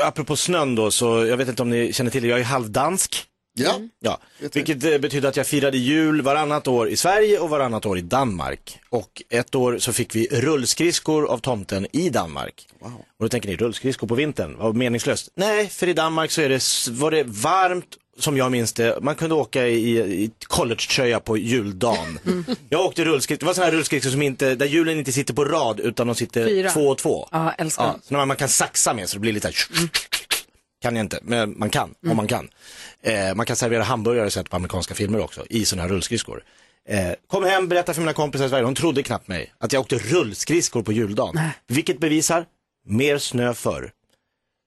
Speaker 2: eh, apropå snön då, så jag vet inte om ni känner till det, jag är halvdansk.
Speaker 3: Ja.
Speaker 1: Mm.
Speaker 2: ja. Vilket eh, betyder att jag firade jul varannat år i Sverige och varannat år i Danmark. Och ett år så fick vi rullskridskor av tomten i Danmark. Och då tänker ni, rullskridskor på vintern, vad meningslöst. Nej, för i Danmark så är det, s- var det varmt, som jag minns det, man kunde åka i, i collegetröja på juldagen. Jag åkte rullskridskor, det var sådana här rullskridskor som inte, där hjulen inte sitter på rad utan de sitter
Speaker 1: Fyra.
Speaker 2: två och två.
Speaker 1: Ja, älskar dem.
Speaker 2: så när man, man kan saxa med så det blir lite här, kan jag inte, men man kan om man kan. Eh, man kan servera hamburgare och sånt på amerikanska filmer också i sådana här rullskridskor. Eh, kom hem, berätta för mina kompisar i Sverige, de trodde knappt mig, att jag åkte rullskridskor på juldagen. Vilket bevisar, mer snö förr.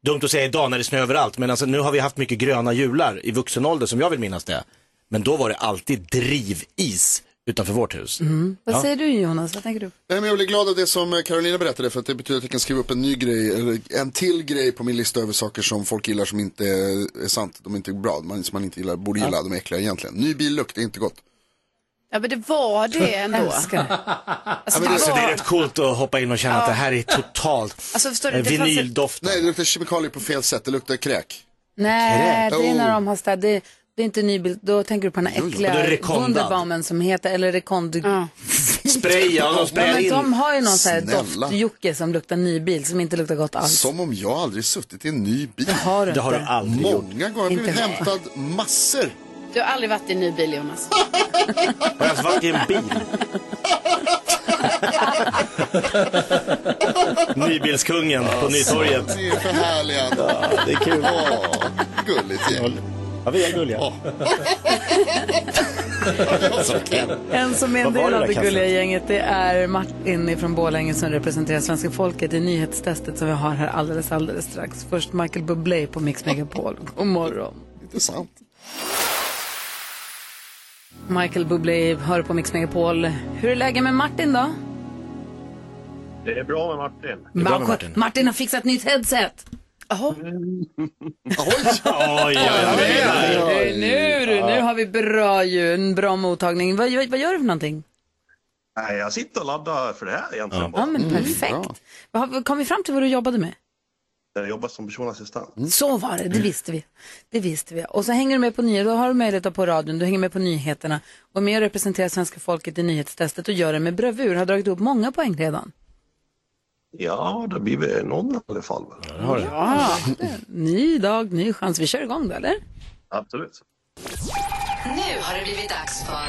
Speaker 2: Dumt att säga idag när det är snö överallt, men alltså, nu har vi haft mycket gröna jular i vuxen ålder som jag vill minnas det. Men då var det alltid drivis utanför vårt hus.
Speaker 1: Vad
Speaker 3: Mm.
Speaker 2: Ja.
Speaker 1: säger du Jonas? Vad tänker du?
Speaker 3: Nej, men jag blir glad av det som Carolina berättade för att det betyder att jag kan skriva upp en ny grej, eller en till grej på min lista över saker som folk gillar som inte är sant, de är inte bra, man, som man inte gillar, borde gilla, de är äckliga egentligen. Ny billukt är inte gott.
Speaker 4: Ja, men det var det ändå.
Speaker 1: Älskar det.
Speaker 4: Alltså, det
Speaker 2: Alltså det är
Speaker 4: var...
Speaker 2: rätt coolt att hoppa in och känna att det här är totalt
Speaker 4: Alltså, förstår du,
Speaker 2: eh,
Speaker 4: det fanns ett-
Speaker 2: vinyldoften.
Speaker 3: Nej, det luktar kemikalier på fel sätt, det luktar kräk.
Speaker 1: Nej,
Speaker 3: Kräk.
Speaker 1: det är när
Speaker 3: Oh.
Speaker 1: de har städat. Det, det är inte nybild. Då tänker du på den här
Speaker 3: jo.
Speaker 1: äckliga
Speaker 3: Och då är det Rekonda.
Speaker 1: Wunderbaumen som heter, eller Rekond...
Speaker 2: Spray, ja, de sprayar
Speaker 1: ja, men
Speaker 2: in.
Speaker 1: de har ju någon sån här
Speaker 3: Snälla.
Speaker 1: doft-Jocke som luktar nybil som inte luktar gott alls.
Speaker 3: Som om jag aldrig suttit i en ny bil. Det
Speaker 1: har du Det har inte. du aldrig
Speaker 3: Många
Speaker 1: gjort.
Speaker 3: gånger, jag har blivit
Speaker 1: Inte jag.
Speaker 3: hämtad massor.
Speaker 4: Du har aldrig varit i en ny bil,
Speaker 2: [LAUGHS]
Speaker 4: Jonas.
Speaker 2: Har jag ens varit i en bil? Nybilskungen på Nytorget.
Speaker 3: Ni är för härliga.
Speaker 2: Ja, det är kul.
Speaker 3: Åh, gulligt gäng.
Speaker 2: Ja, vi är gulliga.
Speaker 1: [LAUGHS] En som är en
Speaker 2: Vad var
Speaker 1: del
Speaker 2: det
Speaker 1: av
Speaker 2: där
Speaker 1: det gulliga
Speaker 2: kastet?
Speaker 1: gänget det är Martin från Borlänge som representerar svenska folket i nyhetstestet som vi har här alldeles, alldeles strax. Först Michael Bublé på Mix
Speaker 2: [LAUGHS]
Speaker 1: Megapol. God morgon.
Speaker 3: Intressant.
Speaker 1: Michael Bublé hör på Mix Megapol. Hur är läget med Martin då?
Speaker 19: Det är bra med Martin.
Speaker 1: Martin har fixat nytt headset.
Speaker 2: [LAUGHS] Oj,
Speaker 1: Nu, nu, du, nu har vi bra ju, en bra mottagning. Vad, vad, vad gör du för någonting?
Speaker 19: Nej, jag sitter och laddar för det här egentligen Mm. bara.
Speaker 1: Ja, men perfekt. Mm, Vad har vi- Kom vi fram till vad du jobbade med?
Speaker 19: Jag jobbar som personlig assistent.
Speaker 1: Så var det, det visste vi. Det visste vi. Och så hänger du med på nyheterna, då har du möjlighet att på radion, du hänger med på nyheterna och är med och representerar svenska folket i nyhetstestet och gör det med bravur. Har dragit upp många poäng redan.
Speaker 19: Ja, det blir väl någon i alla fall.
Speaker 2: har
Speaker 1: Ja, ny dag, ny chans. Vi kör igång då, eller?
Speaker 19: Absolut.
Speaker 7: Nu har det blivit dags för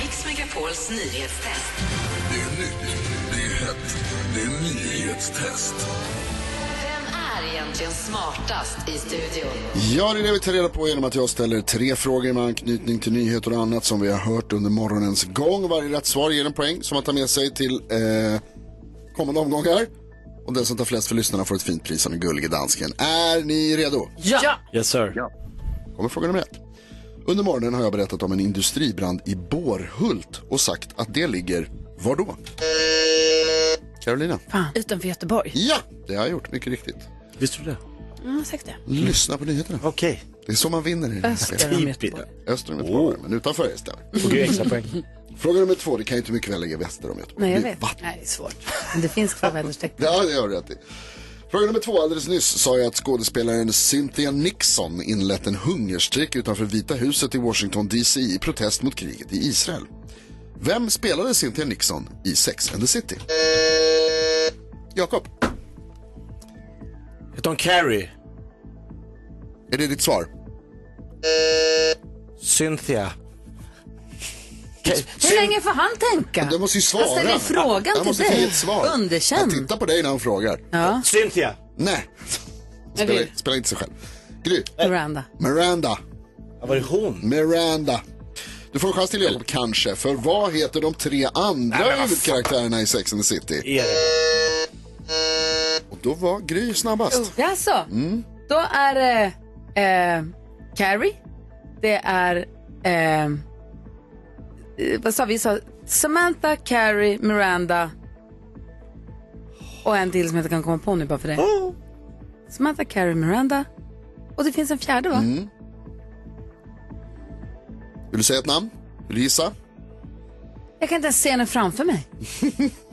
Speaker 7: Mix Megapols nyhetstest.
Speaker 20: Det är nytt, det är hett, det är nyhetstest.
Speaker 7: Vem är egentligen smartast i studion?
Speaker 3: Ja, det är det vi tar reda på genom att jag ställer tre frågor med anknytning till nyheter och annat som vi har hört under morgonens gång. Varje rätt svar ger en poäng som man tar med sig till eh, kommande omgångar. Och den som tar flest för lyssnarna får ett fint pris av den gullige dansken. Är ni redo?
Speaker 1: Ja!
Speaker 2: Yes sir.
Speaker 3: kommer fråga nummer ett. Under morgonen har jag berättat om en industribrand i Bårhult och sagt att det ligger var då? Carolina?
Speaker 4: Utanför Göteborg.
Speaker 3: Ja, det har jag gjort, mycket riktigt.
Speaker 2: Visste du det?
Speaker 4: Ja, säkert det.
Speaker 3: Lyssna på nyheterna.
Speaker 2: Okej.
Speaker 3: Det är så man vinner i det här
Speaker 4: Öster om
Speaker 3: spelet.
Speaker 4: Göteborg.
Speaker 3: Öster om Göteborg, men utanför är det stämmer.
Speaker 2: Får du extra poäng?
Speaker 3: [LAUGHS] Fråga nummer två, det kan ju inte mycket väl ligga väster om Göteborg.
Speaker 1: Nej, jag
Speaker 3: Det är
Speaker 1: vet.
Speaker 3: vatten.
Speaker 4: Nej, det är svårt.
Speaker 1: Det finns två väderstreck.
Speaker 3: Ja, det har du rätt i. Fråga nummer två. Alldeles nyss sa jag att skådespelaren Cynthia Nixon inlett en hungerstrejk utanför Vita huset i Washington DC i protest mot kriget i Israel. Vem spelade Cynthia Nixon i Sex and the City? Jakob.
Speaker 2: Hette hon Carrie?
Speaker 3: Är det ditt svar?
Speaker 2: Cynthia.
Speaker 1: Hur länge får han tänka?
Speaker 3: Du måste ju svara.
Speaker 1: Han ställer frågan
Speaker 3: Han
Speaker 1: till
Speaker 3: måste
Speaker 1: dig.
Speaker 3: ge ett svar. Han
Speaker 1: Underkänd.
Speaker 3: tittar på dig när han frågar.
Speaker 1: Ja.
Speaker 2: Cynthia.
Speaker 3: Nej. Spelar, spelar inte sig själv. Gry.
Speaker 1: Miranda.
Speaker 3: Miranda.
Speaker 2: Var det hon?
Speaker 3: Miranda. Du får en chans till Jakob, kanske. För vad heter de tre andra huvudkaraktärerna i Sex and the City? Och då var Gry
Speaker 1: Oh.
Speaker 3: snabbast.
Speaker 1: Jaså?
Speaker 3: Mm.
Speaker 1: Då är det eh, Carrie. Det är... Eh, eh, vad sa vi? vi? Sa Samantha, Carrie, Miranda och en till som jag inte kan komma på nu bara för det.
Speaker 3: Oh.
Speaker 1: Samantha, Carrie, Miranda. Och det finns en fjärde, va?
Speaker 3: Mm. Vill du säga ett namn? Vill du gissa?
Speaker 1: Jag kan inte ens se henne
Speaker 3: [LAUGHS]
Speaker 1: framför mig.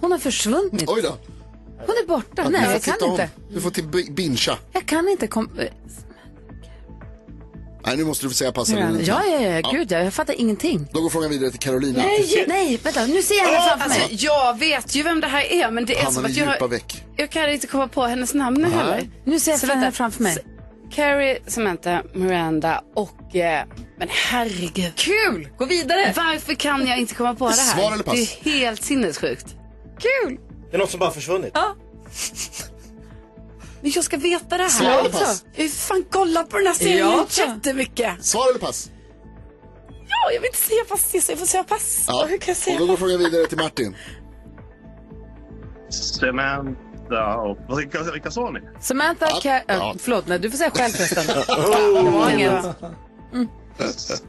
Speaker 1: Hon har försvunnit.
Speaker 3: Oj då.
Speaker 1: Hon är borta.
Speaker 3: Ja, du
Speaker 1: Nej,
Speaker 3: får
Speaker 1: jag
Speaker 3: titta
Speaker 1: kan
Speaker 3: om.
Speaker 1: inte.
Speaker 3: Du får till bi- bincha.
Speaker 1: Jag kan inte eh, komma...
Speaker 3: Nej, nu måste du få säga pass.
Speaker 1: Ja, ja, ja, gud ja. Jag fattar ingenting.
Speaker 3: Då går frågan vidare till Carolina.
Speaker 1: Nej, nej, vänta. Nu ser jag henne
Speaker 4: Ja,
Speaker 1: framför
Speaker 4: alltså,
Speaker 1: mig.
Speaker 4: jag vet ju vem det här är, men det är som
Speaker 3: Hamnar i
Speaker 4: att
Speaker 3: djupa
Speaker 4: jag,
Speaker 3: veck.
Speaker 4: jag kan inte komma på hennes namn nu
Speaker 3: Nej.
Speaker 4: heller.
Speaker 1: Nu ser jag
Speaker 4: Så
Speaker 1: henne
Speaker 4: vänta.
Speaker 1: framför mig.
Speaker 4: S- Carrie, Samantha, Miranda och... Eh, men herregud.
Speaker 1: Kul! Gå vidare.
Speaker 4: Varför kan jag inte komma på det här?
Speaker 2: Svar eller pass?
Speaker 4: Det är helt sinnessjukt. Kul!
Speaker 2: Det är något som bara försvunnit.
Speaker 4: Ja. Men jag ska veta det här.
Speaker 2: Svar eller pass?
Speaker 4: Jag har ju fan kollat på den här serien
Speaker 3: Ja.
Speaker 4: jättemycket.
Speaker 3: Svar eller pass?
Speaker 4: Ja, jag vill inte säga pass till så jag får säga pass.
Speaker 3: Ja.
Speaker 4: Hur kan jag säga
Speaker 3: Och då går frågan vidare till Martin.
Speaker 19: Samantha och... Vad- Vilka, vilka sa ni?
Speaker 1: Samantha, Ca- äh, förlåt, nej, du får säga själv förresten.
Speaker 3: [LAUGHS]
Speaker 1: Det var
Speaker 19: Oh.
Speaker 1: inget.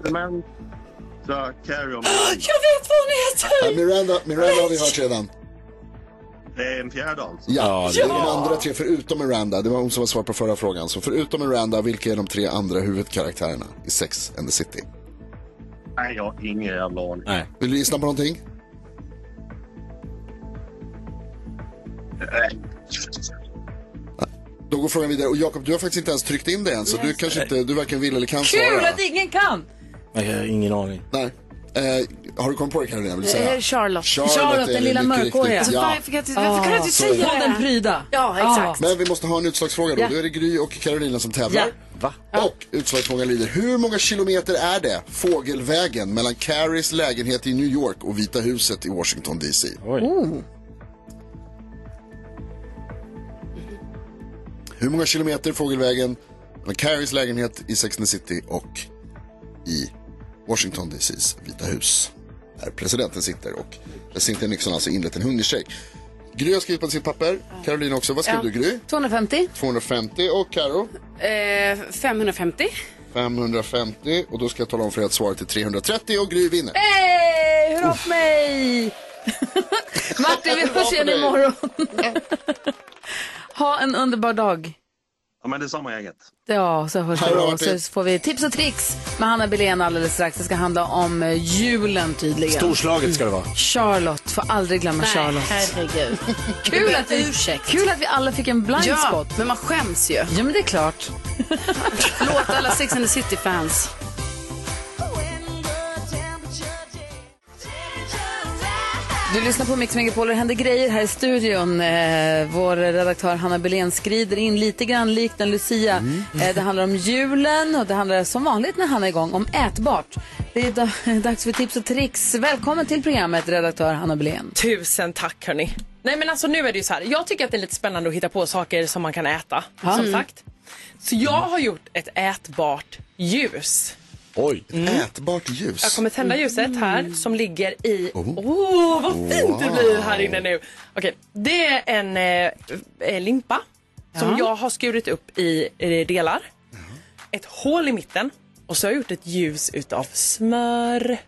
Speaker 19: Samantha, Carrie
Speaker 1: [GASPS]
Speaker 19: och...
Speaker 4: Jag vet vad hon
Speaker 3: Ja,
Speaker 4: heter!
Speaker 3: Miranda, Miranda har vi hört redan.
Speaker 19: Det är en fjärde alltså.
Speaker 3: Ja, det är de
Speaker 19: Ja.
Speaker 3: andra tre förutom Miranda. Det var hon som var svar på förra frågan. Så förutom Miranda, vilka är de tre andra huvudkaraktärerna i Sex and the City?
Speaker 19: Nej, jag har ingen jävla aning.
Speaker 2: Nej.
Speaker 3: Vill du gissa på någonting? Då går frågan vidare. Och Jakob, du har faktiskt inte ens tryckt in det än, så du kanske inte, du varken vill eller kan
Speaker 1: Kul
Speaker 3: svara.
Speaker 1: att ingen kan!
Speaker 2: Nej, jag har ingen aning.
Speaker 3: Nej. Eh, har du kommit på det Carolina? Vill du säga?
Speaker 4: Eh, Charlotte.
Speaker 3: Charlotte,
Speaker 1: Charlotte,
Speaker 3: är
Speaker 1: den lilla
Speaker 3: mycket riktigt.
Speaker 1: mörkhåriga.
Speaker 4: Alltså,
Speaker 3: Ja.
Speaker 4: varför kan jag inte- varför kan jag inte
Speaker 3: Ah, så är det.
Speaker 4: säga
Speaker 1: På
Speaker 4: det?
Speaker 1: den pryda.
Speaker 4: Ja, exakt.
Speaker 3: Men vi måste ha en utslagsfråga då.
Speaker 4: Ja.
Speaker 3: Då är det Gry och Carolina som tävlar.
Speaker 2: Va?
Speaker 3: Och utslagsfrågan lyder, hur många kilometer är det fågelvägen mellan Carries lägenhet i New York och Vita huset i Washington DC?
Speaker 1: Oh.
Speaker 3: Hur många kilometer fågelvägen mellan Carries lägenhet i Sex and the City och i Washington DCs Vita hus? Där presidenten sitter och där Cynthia Nixon alltså inlett en hungerstrejk. Gry har skrivit på sitt papper, Carolina också. Vad skrev
Speaker 4: Ja.
Speaker 3: du Gry?
Speaker 1: 250.
Speaker 3: 250 och Karo?
Speaker 4: Eh, 550.
Speaker 3: 550 och då ska jag tala om för er att svaret är 330 och Gry vinner.
Speaker 1: Hej! Hurra
Speaker 3: [LAUGHS]
Speaker 1: för [LAUGHS] mig! Martin, vi
Speaker 3: Hurra
Speaker 1: hörs
Speaker 3: för
Speaker 1: igen
Speaker 3: dig.
Speaker 1: imorgon. [LAUGHS] ha en underbar dag.
Speaker 19: Ja, men det är samma gänget.
Speaker 1: Ja, så hörs
Speaker 19: Hej
Speaker 1: vi
Speaker 19: då,
Speaker 1: då.
Speaker 19: Martin.
Speaker 1: Så får vi tips och tricks med Hanna Belén alldeles strax. Det ska handla om eh, julen tydligen.
Speaker 2: Storslaget ska det vara.
Speaker 1: Charlotte, får aldrig glömma
Speaker 4: Nej,
Speaker 1: Charlotte.
Speaker 4: herregud.
Speaker 1: Kul att, vi,
Speaker 4: Ursäkt.
Speaker 1: kul att vi alla fick en blind
Speaker 4: ja,
Speaker 1: spot.
Speaker 4: men man skäms ju.
Speaker 1: Ja, men det är klart.
Speaker 4: [LAUGHS] Låt alla Sex and the City-fans.
Speaker 1: Du lyssnar på Mix Megapol och det händer grejer här i studion. Eh, vår redaktör Hanna Belén skrider in lite grann likt en Lucia. Eh, det handlar om julen och det handlar som vanligt när Hanna är igång om ätbart. Det är da- [LAUGHS] dags för tips och tricks. Välkommen till programmet redaktör Hanna Belén.
Speaker 21: Tusen tack hörni. Nej men alltså nu är det ju så här. Jag tycker att det är lite spännande att hitta på saker som man kan äta.
Speaker 1: Ja.
Speaker 21: Som
Speaker 1: Mm.
Speaker 21: sagt. Så jag har gjort ett ätbart ljus.
Speaker 3: Oj. Ätbart ljus.
Speaker 21: Jag kommer tända ljuset här som ligger i... Åh, oh. vad fint det
Speaker 3: Wow.
Speaker 21: blir här inne nu. Okej, det är en eh, eh, limpa som
Speaker 22: Ja.
Speaker 21: jag har skurit upp i eh, delar. Ett hål i mitten och så har jag gjort ett ljus utav smör.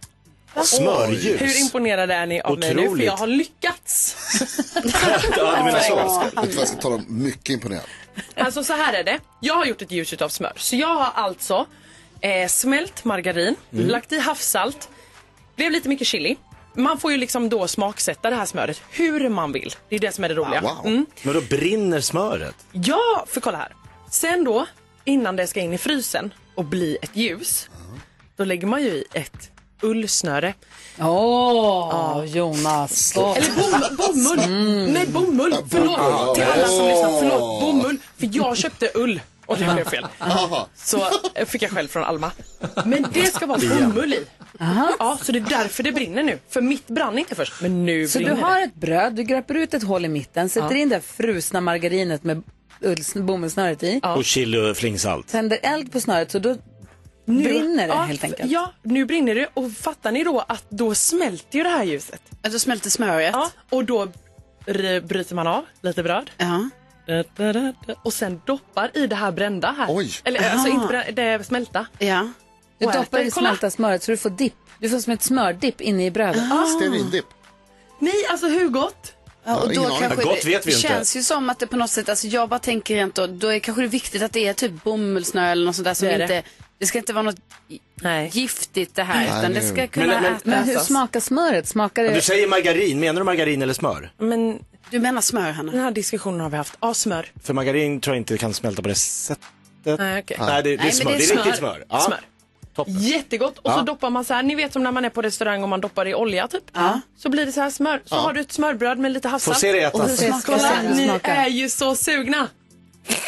Speaker 2: Va? Smörljus?
Speaker 21: Hur imponerade är ni av mig nu? För
Speaker 2: Otroligt.
Speaker 21: jag har lyckats. [LAUGHS]
Speaker 2: Ja, du menar så.
Speaker 3: Vet du vad Mm. jag ska tala om? Mycket imponerad.
Speaker 21: Alltså så här är det. Jag har gjort ett ljus utav smör. Så jag har alltså eh, smält margarin,
Speaker 3: Mm.
Speaker 21: lagt i havssalt, blev lite mycket chili, Man får ju liksom då smaksätta det här smöret hur man vill. Det är det som är det
Speaker 3: Ah,
Speaker 21: roliga.
Speaker 2: Ah, Wow.
Speaker 21: Mm.
Speaker 2: Men då brinner smöret.
Speaker 21: Ja, för kolla här. Sen då, innan det ska in i frysen och bli ett ljus, då lägger man ju i ett ullsnöre.
Speaker 1: Åh, Jonas. Åh.
Speaker 21: Eller Mm. bom, bomull. Nej, bomull. Förlåt
Speaker 1: bomull.
Speaker 21: till alla som lyssnar.
Speaker 1: Åh.
Speaker 21: Förlåt, bomull. För jag köpte ull och det blev fel.
Speaker 1: Aha.
Speaker 21: Så eh, fick jag skäll från Alma. Men det ska vara bomull i. Ja, så det är därför det brinner nu. För mitt brann inte först, men nu
Speaker 1: Så du
Speaker 21: brinner
Speaker 1: har
Speaker 21: det.
Speaker 1: ett bröd, du gröper ut ett hål i mitten, sätter
Speaker 21: Ja.
Speaker 1: in det frusna margarinet med ulls- bomullsnöret i.
Speaker 2: Och chili och flingsalt.
Speaker 1: Tänder eld på snöret så då brinner det
Speaker 21: ja,
Speaker 1: helt enkelt.
Speaker 21: Ja, nu brinner det och fattar ni då att då smälter ju det här ljuset. Att då smälter smöret. Ja, och då r- bryter man av lite bröd. Da, da, da, da. Och sen doppar i det här brända här.
Speaker 1: Oj.
Speaker 21: Eller
Speaker 1: Ah.
Speaker 21: alltså inte brända, det är smälta. Ja.
Speaker 1: Du doppar i det smälta smöret så du får dipp. Du får som ett smördipp inne i brödet.
Speaker 21: Ah.
Speaker 3: Stearindipp.
Speaker 21: Nej, alltså hur gott?
Speaker 4: Ja, och då kanske
Speaker 1: Gott vet vi
Speaker 4: det
Speaker 1: inte.
Speaker 4: känns ju som att det på något sätt, alltså jag bara tänker rent då, då är kanske det viktigt att det är typ bomullsnö eller något sånt där som
Speaker 1: Det är det.
Speaker 4: inte, det ska inte vara något i- giftigt det här
Speaker 2: Nej,
Speaker 4: utan det
Speaker 2: det är-
Speaker 4: ska
Speaker 2: Men-
Speaker 4: kunna
Speaker 2: men-
Speaker 4: ätas.
Speaker 1: Men hur smakar smöret? Smakar
Speaker 2: Ja,
Speaker 1: det...
Speaker 2: du säger margarin, menar du margarin eller smör?
Speaker 21: Men... Du menar smör, Hanna? Den här diskussionen har vi haft. Ja, smör.
Speaker 2: För margarin tror jag inte kan smälta på det sättet.
Speaker 21: Nej, okej.
Speaker 2: Nej, det, det, är,
Speaker 21: Nej, men
Speaker 2: smör.
Speaker 21: det
Speaker 2: det
Speaker 21: är
Speaker 2: är riktigt
Speaker 21: smör.
Speaker 2: smör. Ja.
Speaker 21: Smör.
Speaker 2: Toppen.
Speaker 21: Jättegott. Och
Speaker 2: Ja.
Speaker 21: så doppar man så här, ni vet som när man är på restaurang och man doppar i olja typ. Så blir det så här smör. Så
Speaker 2: Ja.
Speaker 21: har du ett smörbröd med lite havssalt.
Speaker 2: Får se det ätas.
Speaker 21: Och
Speaker 2: Får se-
Speaker 21: så- Kolla,
Speaker 2: se det
Speaker 21: ni
Speaker 2: smaka.
Speaker 21: är ju så sugna.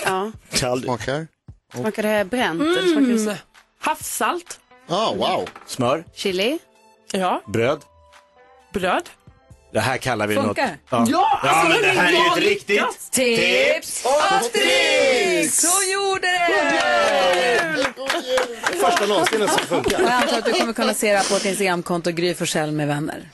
Speaker 21: Ja.
Speaker 3: Smakar?
Speaker 4: Smakar det bränt eller smakar det
Speaker 21: Mm.
Speaker 4: så?
Speaker 21: Havssalt.
Speaker 3: Ja, Ah, wow.
Speaker 2: Smör,
Speaker 4: Chili?
Speaker 21: Ja.
Speaker 2: bröd.
Speaker 21: Bröd.
Speaker 2: Det här kallar vi
Speaker 4: Funkar?
Speaker 2: något. Ja,
Speaker 1: Ja, alltså,
Speaker 2: ja men det här är ju ett riktigt
Speaker 1: Tips och Asterix! Hon gjorde det!
Speaker 2: Första någonsin som funkar.
Speaker 1: Och jag antar att du kommer kunna se det här på vårt Instagramkonto Gry Forssell med vänner.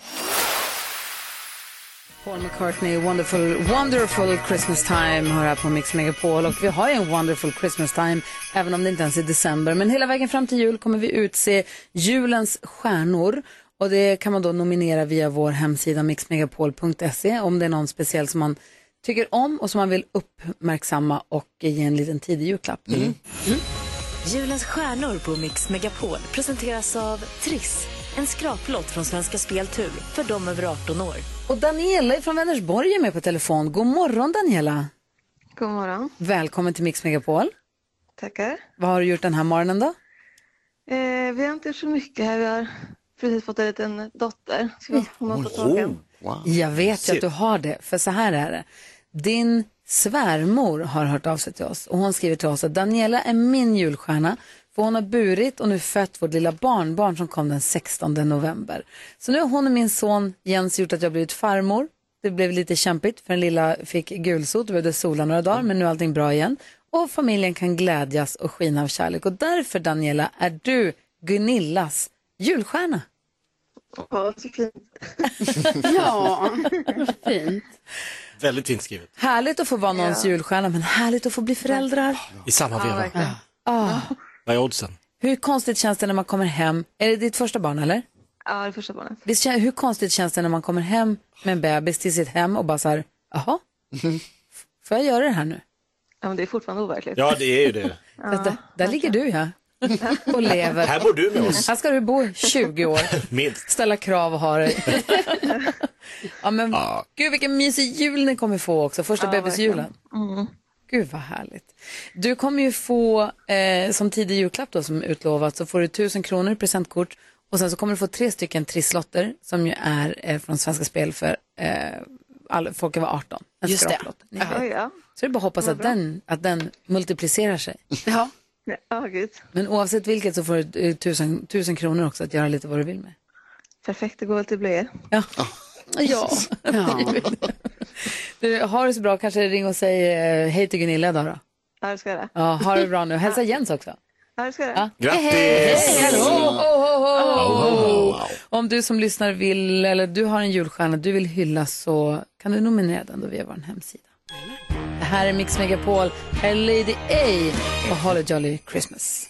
Speaker 1: Paul McCartney, wonderful, wonderful Christmas time, hör här på Mix Megapol. Och vi har ju en wonderful Christmas time, även om det inte ens är december. Men hela vägen fram till jul kommer vi utse julens stjärnor. Och det kan man då nominera via vår hemsida mixmegapol.se om det är någon speciell som man tycker om och som man vill uppmärksamma och ge en liten tidig julklapp till.
Speaker 9: Julens stjärnor på Mix Megapol presenteras av Triss. En skraplott från Svenska Speltur för de över 18 år.
Speaker 1: Och Daniela från Vänersborg är med på telefon. God morgon Daniela.
Speaker 22: God morgon.
Speaker 1: Välkommen till Mix Megapol.
Speaker 22: Tackar.
Speaker 1: Vad har du gjort den här morgonen då?
Speaker 22: Eh, vi har inte gjort så mycket här. Vi har precis fått en liten dotter. Ska vi komma på tågen?
Speaker 1: Jag vet ju att du har det, för så här är det. Din svärmor har hört av sig till oss och hon skriver till oss att Daniela är min julstjärna för hon har burit och nu fött vårt lilla barnbarn som kom den 16 november. Så nu har hon och min son Jens gjort att jag blivit farmor. Det blev lite kämpigt för den lilla fick gulsot och behövde sola några dagar men nu är allting bra igen. Och familjen kan glädjas och skina av kärlek och därför Daniela är du Gunillas julstjärna.
Speaker 22: Ja, så fint.
Speaker 1: [LAUGHS] Ja, [LAUGHS] fint.
Speaker 2: Väldigt fint skrivet.
Speaker 1: Härligt att få vara någons julstjärna, men härligt att få bli föräldrar.
Speaker 2: I samma
Speaker 1: Ja,
Speaker 2: veva.
Speaker 1: verkligen. Ah,
Speaker 2: Vad är oddsen?
Speaker 1: hur konstigt känns det när man kommer hem? Är det ditt första barn eller?
Speaker 22: Ja, det är första barnet.
Speaker 1: Visst, kän- hur konstigt känns det när man kommer hem med en bebis till sitt hem och bara så här, jaha, f- får jag göra det här nu?
Speaker 22: Mhm. Ja, men det är fortfarande overkligt.
Speaker 2: Ja, det är ju det.
Speaker 1: Så att där, där ligger
Speaker 22: [LAUGHS]
Speaker 1: du ja, och lever.
Speaker 2: Här bor du med oss.
Speaker 1: Här ska du bo i 20 år,
Speaker 2: [LAUGHS] Minst.
Speaker 1: ställa krav och ha
Speaker 2: [LAUGHS]
Speaker 1: det. ja, men, Gud vilken mysig jul ni kommer få också, första
Speaker 22: Ja,
Speaker 1: bebisjulen.
Speaker 22: Mm.
Speaker 1: Gud vad härligt. Du kommer ju få, eh, som tidig julklapp då som utlovat, så får du 1000 kronor i presentkort och sen så kommer du få tre stycken trisslotter som ju är eh, från Svenska Spel för eh, all, folk över 18. En
Speaker 22: Just det.
Speaker 1: skraplott, ni
Speaker 22: Ja,
Speaker 1: vet.
Speaker 22: ja.
Speaker 1: Så det är bara att hoppas
Speaker 22: Vad
Speaker 1: att
Speaker 22: bra.
Speaker 1: den, att den multiplicerar sig.
Speaker 22: [LAUGHS] Ja. Ja, gud.
Speaker 1: Men oavsett vilket så får du eh, 1000, 1000 kronor också att göra lite vad du vill med.
Speaker 22: Perfekt, det går väl till Blair. [LAUGHS]
Speaker 1: Ja. Ja. [LAUGHS] Du, har det så bra, kanske ring och säg eh, hej till Gunilla idag då.
Speaker 22: Ja, det ska jag göra.
Speaker 1: Ja, ha det bra nu. Hälsa Jens också.
Speaker 22: Ja, det ska jag göra.
Speaker 1: Grattis! Hej, hej, ho, ho, ho, ho. Oh. Om du som lyssnar vill, eller du har en julstjärna du vill hylla så kan du nominera den då via vår hemsida. Det här är Mix Megapol, här är Lady A och Holly Jolly Christmas.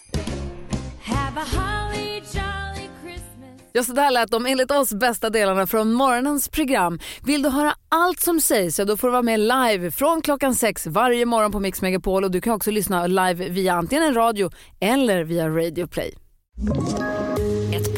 Speaker 1: Ja, så där lät de enligt oss bästa delarna från morgonens program. Vill du höra allt som sägs så då får du vara med live från klockan sex varje morgon på Mix Megapol och du kan också lyssna live via antingen en radio eller via Radio Play.
Speaker 9: Ett